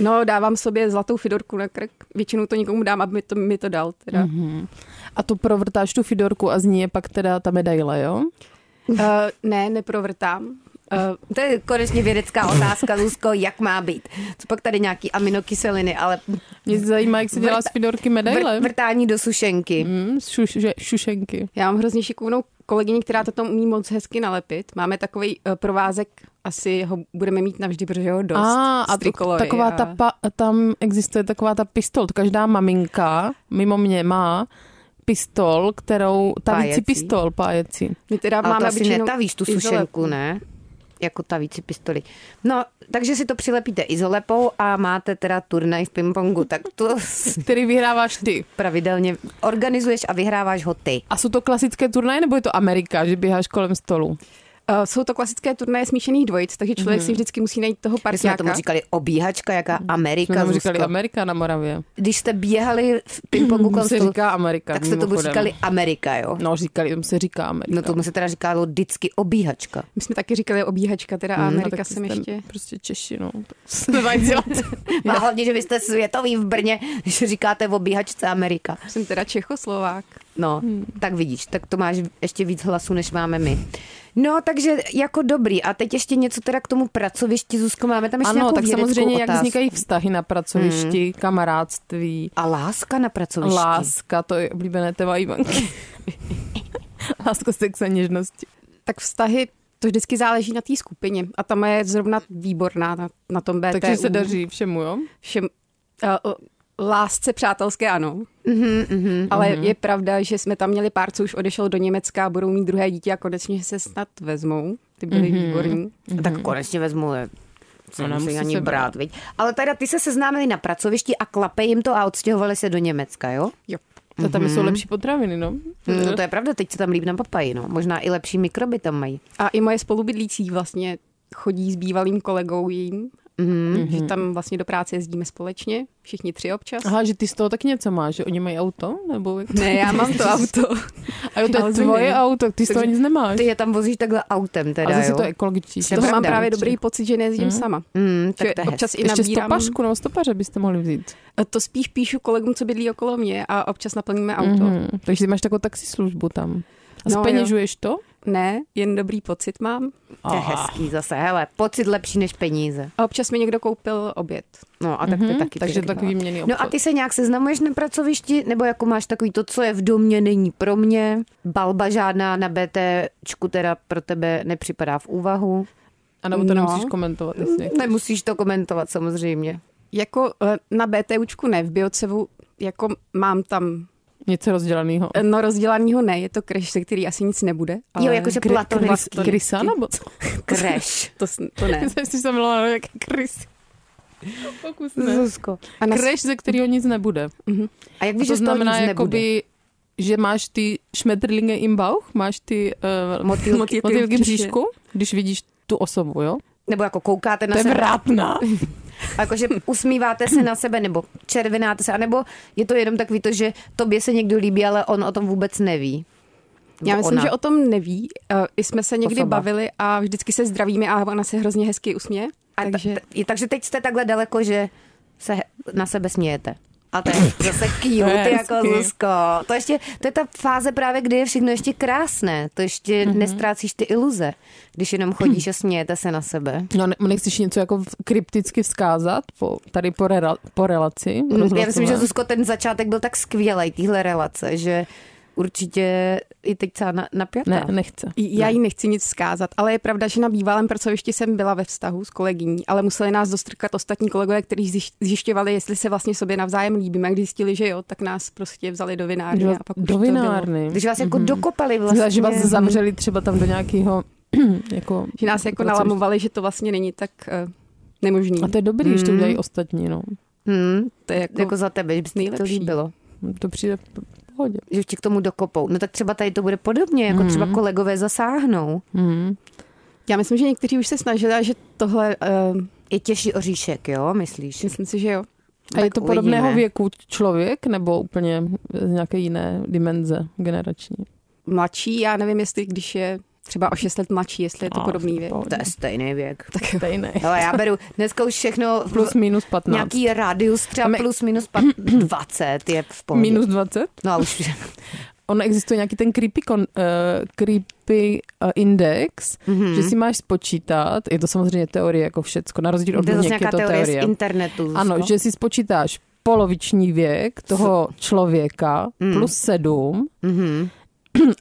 Speaker 5: No, dávám sobě zlatou fidorku na krk. Většinou to někomu dám, aby mi to, mi to dal. Teda. Mm.
Speaker 4: A to provrtáš tu fidorku a z ní je pak teda ta medaile, jo?
Speaker 5: Uh, ne, neprovrtám. Uh,
Speaker 3: To je konečně vědecká otázka, Zuzko, jak má být. Co pak tady nějaký aminokyseliny, ale
Speaker 4: Mě zajímá, jak se dělá z fidorky medaile.
Speaker 3: vr- vrtání do sušenky.
Speaker 4: Hmm, z šuš, že, šušenky.
Speaker 5: já mám hrozně šikovnou kolegyni, která to umí moc hezky nalepit. Máme takový uh, provázek, asi ho budeme mít navždy, protože ho dost.
Speaker 4: A,
Speaker 5: z
Speaker 4: a to,
Speaker 5: trikolory
Speaker 4: taková
Speaker 5: Prostě a...
Speaker 4: ta pa, tam existuje taková ta pistol. Každá maminka mimo mě má pistol, kterou, tavící
Speaker 3: Pájecí.
Speaker 4: pistol pájecí.
Speaker 5: My teda
Speaker 3: Ale
Speaker 5: máme
Speaker 3: to asi
Speaker 5: obyčejnou
Speaker 3: netavíš tu
Speaker 5: izolepku.
Speaker 3: sušenku, ne? Jako tavící pistoli. No, takže si to přilepíte izolepou a máte teda turnaj v pingpongu. Tak to (laughs) s-
Speaker 4: Který vyhráváš ty.
Speaker 3: pravidelně organizuješ a vyhráváš ho ty.
Speaker 4: A jsou to klasické turnaje, nebo je to Amerika, že běháš kolem stolu?
Speaker 5: Uh, jsou to klasické turnaje smíšených dvojic, takže člověk mm. si vždycky musí najít toho
Speaker 3: Mhm. My jsme tomu
Speaker 5: partiáka.
Speaker 3: říkali obíhačka, jaká
Speaker 4: Jsme
Speaker 3: Amerika,
Speaker 4: tomu říkali
Speaker 3: Zuzko.
Speaker 4: Amerika na Moravě.
Speaker 3: Když jste běhali v
Speaker 4: (clears throat)
Speaker 3: pingpongu
Speaker 4: Tomu
Speaker 3: kolem
Speaker 4: se
Speaker 3: stolu,
Speaker 4: říká Amerika,
Speaker 3: tak jste tomu
Speaker 4: mimochodem.
Speaker 3: říkali Amerika, jo?
Speaker 4: No, říkali, tomu se říká Amerika.
Speaker 3: No tomu se teda říkalo vždycky
Speaker 4: (laughs)
Speaker 3: obíhačka.
Speaker 5: My jsme taky říkali obíhačka, teda
Speaker 3: Mhm,
Speaker 5: mm,
Speaker 4: No,
Speaker 5: Amerika
Speaker 4: tak
Speaker 5: jsem
Speaker 4: jste
Speaker 5: ještě.
Speaker 4: Prostě Češi, no. To se mají dělat.
Speaker 3: A hlavně, že vy jste světový v Brně, když říkáte v obíhačce Amerika.
Speaker 5: Jsem teda Čechoslovák.
Speaker 3: No, hmm. tak vidíš, tak to máš ještě víc hlasů, než máme my. No, takže jako dobrý. A teď ještě něco teda k tomu pracovišti, Zuzko, máme tam ještě
Speaker 4: Ano,
Speaker 3: nějakou
Speaker 4: tak
Speaker 3: vědeckou
Speaker 4: samozřejmě,
Speaker 3: otázku.
Speaker 4: jak vznikají vztahy na pracovišti, kamarádství,
Speaker 3: A láska na pracovišti.
Speaker 4: láska, to je oblíbené téma Ivanky. láska, sex a něžnosti.
Speaker 5: Tak vztahy, to vždycky záleží na té skupině. A ta moje je zrovna výborná na, na tom BTU.
Speaker 4: Takže se daří všemu, jo?
Speaker 5: Všem, uh, lásce přátelské ano. Mm-hmm,
Speaker 3: Mhm,
Speaker 5: mm-hmm, Ale mm-hmm. je pravda, že jsme tam měli pár, co už odešel do Německa a budou mít druhé dítě a konečně se snad vezmou. Ty byly
Speaker 3: Mhm.
Speaker 5: mm-hmm. výborní.
Speaker 3: No, Tak konečně vezmu je. Co
Speaker 4: Ona
Speaker 3: nemusí
Speaker 4: musí
Speaker 3: ani
Speaker 4: Mhm. No, se
Speaker 3: brát, viď? Ale teda ty se seznámili na pracovišti a klape jim to a odstěhovali se do Německa, jo?
Speaker 5: Jo.
Speaker 4: To tam jsou lepší potraviny, no.
Speaker 3: No to je pravda, teď se tam líp na papaji, no. Možná i lepší mikroby tam mají.
Speaker 5: A i moje spolubydlící vlastně chodí s bývalým kolegou jím, mm-hmm. že tam vlastně do práce jezdíme společně, všichni tři občas.
Speaker 4: Aha, že ty z toho taky něco máš, že oni mají auto? Nebo jak
Speaker 5: (laughs)
Speaker 4: to-
Speaker 5: Ne, já mám to auto.
Speaker 4: A jo, to
Speaker 5: ale
Speaker 4: je
Speaker 5: to
Speaker 4: tvoje
Speaker 5: ne.
Speaker 4: auto, ty z toho nic nemáš.
Speaker 3: Ty je tam vozíš takhle autem teda,
Speaker 4: a zase
Speaker 3: jo?
Speaker 4: to je ekologičtí.
Speaker 3: To
Speaker 5: To mám
Speaker 3: pravda.
Speaker 5: právě dobrý pocit, že nejezdím mm. sama.
Speaker 3: Mm, tak
Speaker 5: Že
Speaker 3: to je
Speaker 5: občas i
Speaker 4: Ještě
Speaker 5: nabírám. Eh,
Speaker 4: stopařku nebo stopaře byste mohli vzít.
Speaker 5: To spíš píšu kolegům, co bydlí okolo mě a občas naplníme auto. Mm-hmm.
Speaker 4: Mm, takže ty máš takovou taxislužbu tam. A
Speaker 5: No,
Speaker 4: speněžuješ to?
Speaker 5: Ne, jen dobrý pocit mám.
Speaker 3: To
Speaker 4: Ah.
Speaker 3: je hezký zase, hele, pocit lepší než peníze.
Speaker 5: A občas mi někdo koupil oběd.
Speaker 3: No a tak to je taky
Speaker 4: Mhm, Takže
Speaker 3: pěkná.
Speaker 4: takový výměný
Speaker 3: No a ty se nějak seznamuješ na pracovišti, nebo jako máš takový to, co je v domě, není pro mě, balba žádná na BTčku teda pro tebe nepřipadá v úvahu.
Speaker 4: A nebo to
Speaker 5: No.
Speaker 4: nemusíš komentovat, jestli.
Speaker 3: Nemusíš to komentovat samozřejmě.
Speaker 5: Jako eh, na BTUčku ne, v Biocevu jako mám tam
Speaker 4: Něco rozdělaného.
Speaker 5: eh, no rozdělanýho ne, je to kreš, se který asi nic nebude. Ale
Speaker 3: Jo, jako jakože
Speaker 5: kry-
Speaker 3: platonický.
Speaker 5: kry-
Speaker 3: (laughs)
Speaker 4: Krysa nebo co?
Speaker 3: Crash.
Speaker 5: To, s- to ne.
Speaker 4: Myslím, že jsem mluvila nějaký krys. No, Pokus ne.
Speaker 3: Zuzko.
Speaker 5: A na,
Speaker 4: Crash, ze kterého nic nebude.
Speaker 3: A jak
Speaker 4: A
Speaker 3: víš,
Speaker 4: to
Speaker 3: že z toho
Speaker 4: znamená,
Speaker 3: nic nebude?
Speaker 4: jakoby, že máš ty šmetrlinge im Bauch, máš ty uh,
Speaker 3: Motýlky.
Speaker 4: motýlky v bříšku, když vidíš tu osobu, jo?
Speaker 3: Nebo jako koukáte na
Speaker 4: To je
Speaker 3: sebe,
Speaker 4: vrátná.
Speaker 3: a (laughs) jakože usmíváte se na sebe, nebo červenáte se, anebo je to jenom takový to, že tobě se někdo líbí, ale on o tom vůbec neví.
Speaker 5: já myslím,
Speaker 3: ona.
Speaker 5: že o tom neví. eh, I jsme se někdy
Speaker 3: Osoba.
Speaker 5: bavili a vždycky se zdravíme a ona se hrozně hezky usměje.
Speaker 3: A
Speaker 5: takže...
Speaker 3: takže... Ta, je- takže teď jste takhle daleko, že se he- na sebe smějete. A to je zase
Speaker 4: To
Speaker 3: cute,
Speaker 4: je
Speaker 3: jako
Speaker 4: hezký.
Speaker 3: Zuzko. To, ještě, to je ta fáze právě, kdy je všechno ještě krásné. To ještě mm-hmm. nestrácíš ty iluze, když jenom chodíš a smějete se na sebe.
Speaker 4: No, ne, nechceš něco jako v- krypticky vzkázat po, tady po, rela, po relaci?
Speaker 3: Mm, Mm-hmm. Já myslím, že
Speaker 4: rozhlasové?
Speaker 3: Zuzko, ten začátek byl tak skvělý, téhle relace, že určitě i teď celá na, napjatá.
Speaker 4: Ne, nechce.
Speaker 5: Já jí nechci nic zkázat, ale je pravda, že na bývalém pracovišti jsem byla ve vztahu s kolegyní, ale museli nás dostrkat ostatní kolegové, kteří zjiš- zjišťovali, jestli se vlastně sobě navzájem líbíme. A když zjistili, že jo, tak nás prostě vzali do vinárny.
Speaker 4: Do,
Speaker 5: a pak už
Speaker 4: do
Speaker 5: to bylo.
Speaker 4: vinárny.
Speaker 3: Když vás jako mm-hmm. dokopali vlastně.
Speaker 4: Vlastně... Že vás zavřeli třeba tam do nějakého (clears throat) jako...
Speaker 5: Že nás jako
Speaker 4: pracoviště.
Speaker 5: nalamovali, že to vlastně není tak eh, Nemožný.
Speaker 4: A to je dobrý, když to udělají ostatní, no.
Speaker 3: Hmm,
Speaker 5: To je jako,
Speaker 3: jako za tebe, že by se ti to
Speaker 5: nejlepší.
Speaker 3: líbilo.
Speaker 4: To přijde v pohodě.
Speaker 3: Že tě k tomu dokopou. No tak třeba tady to bude podobně, jako třeba
Speaker 4: Mm-hmm.
Speaker 3: kolegové zasáhnou.
Speaker 4: Mm.
Speaker 5: já myslím, že někteří už se snažili a že tohle, uh,
Speaker 3: Je těžší oříšek, jo, myslíš?
Speaker 5: myslím si, že jo.
Speaker 4: A je
Speaker 3: Tak
Speaker 4: to podobného
Speaker 3: uvidíme.
Speaker 4: věku člověk nebo úplně z nějaké jiné dimenze generační?
Speaker 5: Mladší, já nevím, jestli když je třeba o 6 let mladší, jestli je to podobný věk.
Speaker 3: To je stejný věk.
Speaker 4: (laughs) Tak stejný.
Speaker 3: Ale já beru dneska už všechno v-
Speaker 4: Plus minus 15.
Speaker 3: nějaký radius třeba
Speaker 4: Tam je-
Speaker 3: plus
Speaker 4: (clears throat)
Speaker 3: minus pat- 20 je v pohodě.
Speaker 4: Minus 20?
Speaker 3: No a
Speaker 4: (laughs)
Speaker 3: už
Speaker 4: On existuje nějaký ten creepy, kon, uh, creepy uh, index,
Speaker 3: Mhm. Hmm.
Speaker 4: mm-hmm. že si máš spočítat, je to samozřejmě teorie jako všecko, na rozdíl od
Speaker 3: to je zase
Speaker 4: buněk je
Speaker 3: nějaká
Speaker 4: to
Speaker 3: teorie
Speaker 4: teorie.
Speaker 3: z internetu. Zuzko.
Speaker 4: Ano, že si spočítáš poloviční věk toho člověka mm. plus sedm
Speaker 3: Mhm.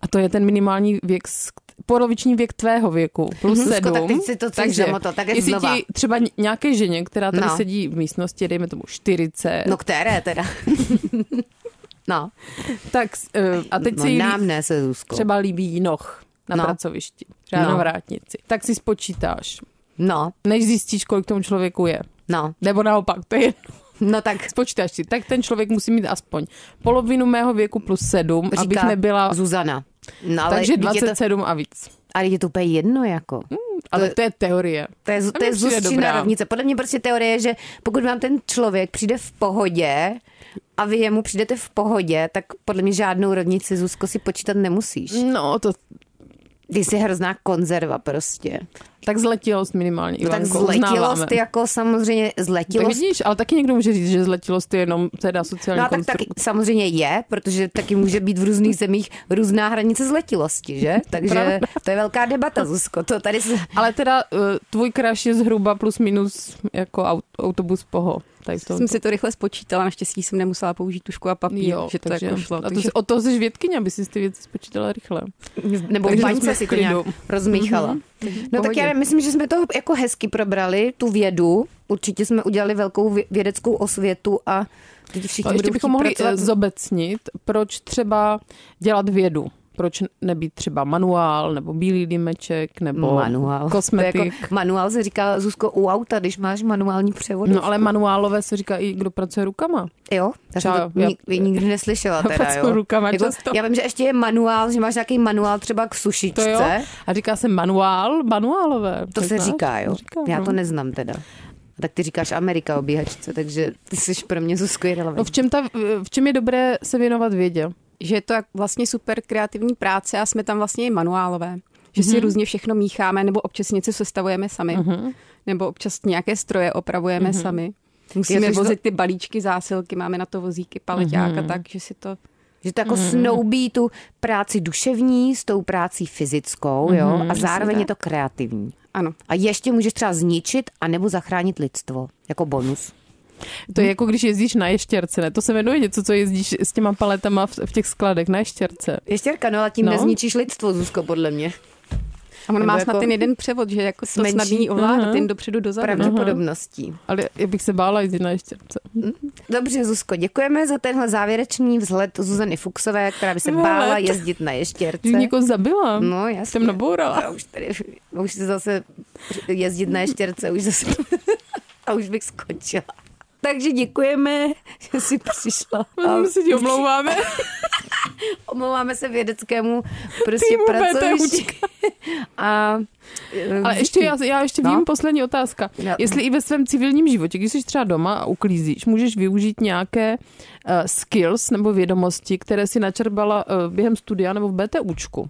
Speaker 4: a to je ten minimální věk, s- poloviční věk tvého věku plus
Speaker 3: Zuzko,
Speaker 4: sedm.
Speaker 3: tak teď si to chceš zamotat, tak je
Speaker 4: jestli
Speaker 3: znova.
Speaker 4: ti třeba ně- nějaké ženě, která tady
Speaker 3: No.
Speaker 4: no. sedí v místnosti, dejme tomu 40,
Speaker 3: No které
Speaker 4: (laughs)
Speaker 3: teda? no,
Speaker 4: tak s- eh, a teď
Speaker 3: no
Speaker 4: si jí
Speaker 3: nám ne se Zuzko.
Speaker 4: třeba líbí noh na
Speaker 3: No.
Speaker 4: no. pracovišti, třeba
Speaker 3: No.
Speaker 4: no. na vrátnici, tak si spočítáš,
Speaker 3: No,
Speaker 4: než zjistíš, kolik tomu člověku je.
Speaker 3: no,
Speaker 4: Nebo naopak, to je jedno.
Speaker 3: no tak
Speaker 4: Spočítáš si, tak ten člověk musí mít aspoň polovinu mého věku plus sedm,
Speaker 3: říká
Speaker 4: abych nebyla...
Speaker 3: Zuzana. No, ale
Speaker 4: Takže
Speaker 3: vždyť Je to,
Speaker 4: 27 a víc.
Speaker 3: ale je to úplně jedno jako.
Speaker 4: Ale Hmm, to je teorie.
Speaker 3: To je, to
Speaker 4: mi
Speaker 3: je
Speaker 4: přijde
Speaker 3: zůstčina
Speaker 4: dobrá.
Speaker 3: rovnice. Podle mě prostě teorie je, že pokud vám ten člověk přijde v pohodě a vy jemu přijdete v pohodě, tak podle mě žádnou rovnici Zuzko si počítat nemusíš.
Speaker 4: No, to
Speaker 3: Ty jsi hrozná konzerva prostě.
Speaker 4: tak zletilost minimálně.
Speaker 3: No tak
Speaker 4: Ivanko,
Speaker 3: zletilost
Speaker 4: uznáváme.
Speaker 3: jako samozřejmě
Speaker 4: tak
Speaker 3: zletilost.
Speaker 4: vidíš, ale taky někdo může říct, že zletilost je jenom teda sociální
Speaker 3: No a
Speaker 4: no,
Speaker 3: tak, tak
Speaker 4: konstrukt.
Speaker 3: samozřejmě je, protože taky může být v různých zemích různá hranice zletilosti,
Speaker 4: (laughs)
Speaker 3: že? Takže
Speaker 4: Pravda.
Speaker 3: to je velká debata, Zuzko. To tady se...
Speaker 4: Ale teda eh, tvůj crush je zhruba plus minus jako aut- autobus poho. Tady v tom.
Speaker 5: Jsem si to rychle spočítala, naštěstí jsem nemusela použít tušku a papír,
Speaker 4: Jo,
Speaker 5: že to
Speaker 4: takže,
Speaker 5: jako šlo.
Speaker 4: A to,
Speaker 5: takže-
Speaker 4: si- o to jsi vědkyně, aby si ty věci spočítala rychle.
Speaker 3: Nebo v
Speaker 4: Takže
Speaker 3: baňce
Speaker 4: jsme
Speaker 3: si
Speaker 4: v
Speaker 3: to nějak
Speaker 4: klidu. Mhm.
Speaker 3: rozmíchala. No tak
Speaker 4: pohodě.
Speaker 3: já myslím, že jsme to jako hezky probrali, tu vědu. Určitě jsme udělali velkou vě- vědeckou osvětu a teď všichni
Speaker 4: A ještě
Speaker 3: budou
Speaker 4: bychom
Speaker 3: chtít
Speaker 4: mohli eh,
Speaker 3: pracovat.
Speaker 4: zobecnit, proč třeba dělat vědu. Proč nebýt třeba manuál, nebo bílý dýmeček, nebo
Speaker 3: Manuál.
Speaker 4: kosmetik.
Speaker 3: To je Jako, manuál se říká, Zuzko, u auta, když máš manuální převod.
Speaker 4: No ale manuálové se říká i, kdo pracuje rukama.
Speaker 3: Jo, já jsem
Speaker 4: Čau,
Speaker 3: to
Speaker 4: já-
Speaker 3: nik, nikdy
Speaker 4: (laughs)
Speaker 3: neslyšela teda,
Speaker 4: pracuju
Speaker 3: jo.
Speaker 4: rukama
Speaker 3: jako,
Speaker 4: často.
Speaker 3: Já vím, že ještě je manuál, že máš nějaký manuál třeba k
Speaker 4: To jo.
Speaker 3: sušičce.
Speaker 4: A říká se manuál, manuálové.
Speaker 3: To se
Speaker 4: znáš?
Speaker 3: říká, jo.
Speaker 4: Říká,
Speaker 3: Já
Speaker 4: no.
Speaker 3: to neznám teda. A tak ty říkáš Amerika obíhačce, takže ty jsi pro mě Zuzko
Speaker 4: No
Speaker 3: irrelevant.
Speaker 4: v čem, ta, v čem je dobré se věnovat vědě?
Speaker 5: že je to jak vlastně super kreativní práce a jsme tam vlastně i manuálové. Že si různě všechno mícháme, nebo občas něco sestavujeme sami, nebo občas nějaké stroje opravujeme sami. Musíme
Speaker 3: Ježiš, to-
Speaker 5: vozit ty balíčky, zásilky, máme na to vozíky, paleťák a tak, že si to...
Speaker 3: Že to jako
Speaker 4: Mhm.
Speaker 3: snoubí tu práci duševní s tou prácí fyzickou, jo,
Speaker 4: Mhm,
Speaker 3: a zároveň je to kreativní.
Speaker 5: Ano.
Speaker 3: A ještě můžeš třeba zničit anebo zachránit lidstvo, jako bonus.
Speaker 4: To je
Speaker 3: Hm.
Speaker 4: jako když jezdíš na ještěrce, ne? To se jmenuje něco, co jezdíš s těma paletama v, v těch skladech na ještěrce.
Speaker 3: Ještěrka, no ale tím
Speaker 4: No.
Speaker 3: nezničíš lidstvo, Zuzko, podle mě.
Speaker 5: A on
Speaker 3: Nebo
Speaker 5: má
Speaker 3: jako-
Speaker 5: jako... snad ten jeden převod, že jako to
Speaker 3: Menší.
Speaker 5: snadný ovládat, jen dopředu, dozadu.
Speaker 3: Pravděpodobností.
Speaker 4: Ale já bych se bála jezdit na ještěrce.
Speaker 3: Dobře, Zuzko, děkujeme za tenhle závěrečný vzhled Zuzany Fuxové, která by se
Speaker 4: Vůbec.
Speaker 3: bála jezdit na ještěrce.
Speaker 4: Ty jsi někoho zabila.
Speaker 3: No, jasně.
Speaker 4: Jsem nabourala.
Speaker 3: A už tady, už se zase jezdit na ještěrce, už zase, a už bych skončila. Takže děkujeme, že jsi přišla.
Speaker 4: My se ti omlouváme.
Speaker 3: Omlouváme se vědeckému prostě
Speaker 4: Týmu
Speaker 3: pracovišti. A, eh,
Speaker 4: (laughs)
Speaker 3: (laughs)
Speaker 4: Ale ještě, já, já ještě
Speaker 3: No.
Speaker 4: vím, poslední otázka.
Speaker 3: No.
Speaker 4: Jestli i ve svém civilním životě, když jsi třeba doma a uklízíš, můžeš využít nějaké uh, skills nebo vědomosti, které si načerbala uh, během studia nebo v BTUčku.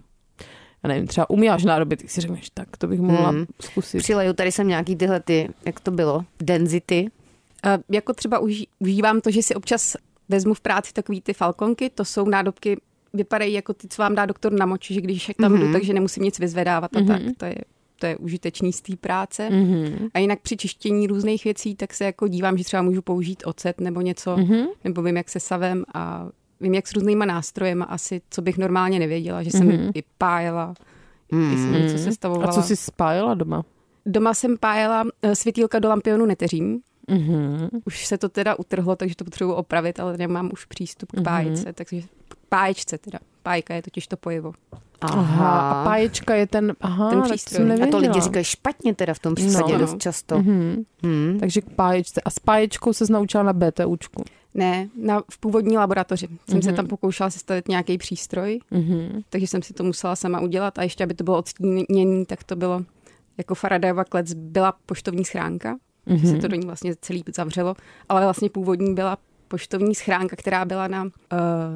Speaker 4: Já nevím, třeba umíváš nádoby, tak si řekneš, tak to bych mohla
Speaker 3: Mm.
Speaker 4: zkusit.
Speaker 3: Přileju, tady jsem nějaký tyhle ty, jak to bylo, denzity.
Speaker 5: A jako třeba uží, užívám to, že si občas vezmu v práci takový ty falkonky, to jsou nádobky, vypadají jako ty, co vám dá doktor na moči, že když tam
Speaker 4: Mhm.
Speaker 5: mm-hmm. jdu, takže nemusím nic vyzvedávat a mm-hmm. tak. To je, to je užitečný z té práce.
Speaker 4: Mhm.
Speaker 5: Mm-hmm. A jinak při čištění různých věcí, tak se jako dívám, že třeba můžu použít ocet nebo něco,
Speaker 4: Mhm.
Speaker 5: mm-hmm. nebo vím, jak se savem a vím, jak s různýma nástrojema asi, co bych normálně nevěděla, že jsem mm-hmm. i pájela, mm-hmm. i jsem něco sestavovala.
Speaker 4: Mhm. A co jsi spájela doma?
Speaker 5: Doma jsem pájela eh, světýlka do lampionu neteřím. Mm-hmm. Už se to teda utrhlo, takže to potřebuji opravit, ale nemám už přístup k pájce, mm-hmm. takže k páječce teda. Pájka je totiž to pojivo.
Speaker 4: Aha. A páječka je ten, aha,
Speaker 5: Ten
Speaker 4: tak
Speaker 5: přístroj.
Speaker 4: jsem
Speaker 5: A
Speaker 3: Mm, A to
Speaker 4: nevěděla.
Speaker 3: lidi říkají špatně teda v tom případě no.
Speaker 4: No.
Speaker 3: dost často.
Speaker 4: Mhm.
Speaker 3: Hmm.
Speaker 4: Takže k páječce. A s páječkou se naučila na BTUčku.
Speaker 5: Ne, na, v původní laboratoři. Jsem mm-hmm. se tam pokoušela sestavit nějaký přístroj,
Speaker 4: Mhm.
Speaker 5: takže jsem si to musela sama udělat a ještě, aby to bylo odstínění, tak to bylo jako Faradayova klec byla poštovní schránka, mm-hmm.
Speaker 4: Mhm.
Speaker 5: se to do ní vlastně celý zavřelo, ale vlastně původní byla poštovní schránka, která byla na uh,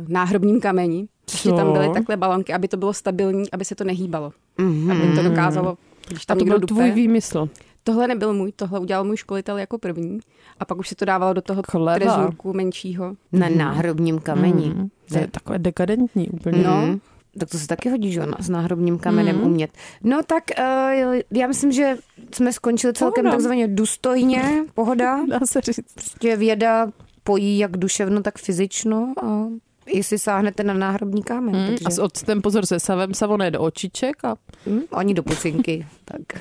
Speaker 5: náhrobním kameni. Ještě
Speaker 4: Co?
Speaker 5: tam byly takhle balonky, aby to bylo stabilní, aby se to nehýbalo,
Speaker 3: Mhm.
Speaker 5: aby to dokázalo, když tam
Speaker 4: A to
Speaker 5: někdo
Speaker 4: byl
Speaker 5: dupe.
Speaker 4: tvůj výmysl.
Speaker 5: Tohle nebyl můj, tohle udělal můj školitel jako první a pak už se to dávalo do toho
Speaker 4: Chleba.
Speaker 5: trezůrku menšího.
Speaker 3: Na náhrobním kameni.
Speaker 4: Mhm. To
Speaker 3: To
Speaker 4: je
Speaker 3: je-
Speaker 4: takové dekadentní úplně.
Speaker 5: No.
Speaker 3: No. Tak to se taky hodí, že jo, na- s náhrobním kamenem
Speaker 4: Mhm.
Speaker 3: umět. No tak eh, já myslím, že jsme skončili celkem
Speaker 4: Pohoda.
Speaker 3: takzvaně důstojně,
Speaker 4: (laughs)
Speaker 3: pohoda.
Speaker 4: Dá se říct.
Speaker 3: Prostě věda pojí jak duševno, tak fyzično No a jestli sáhnete na náhrobní kámen.
Speaker 4: Mhm. A
Speaker 3: protože,
Speaker 4: s octem pozor se savem, savon je do očiček a
Speaker 3: hm, ani do pucinky. tak.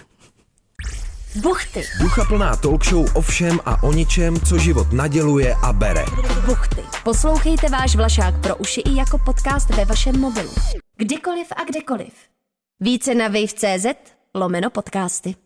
Speaker 1: Buchty,
Speaker 2: Ducha plná talk show o všem a o ničem, co život naděluje a bere.
Speaker 1: buchty. Poslouchejte váš Vlašák pro uši i jako podcast ve vašem mobilu. Kdykoliv a kdekoliv. Více na wave.cz lomeno podcasty.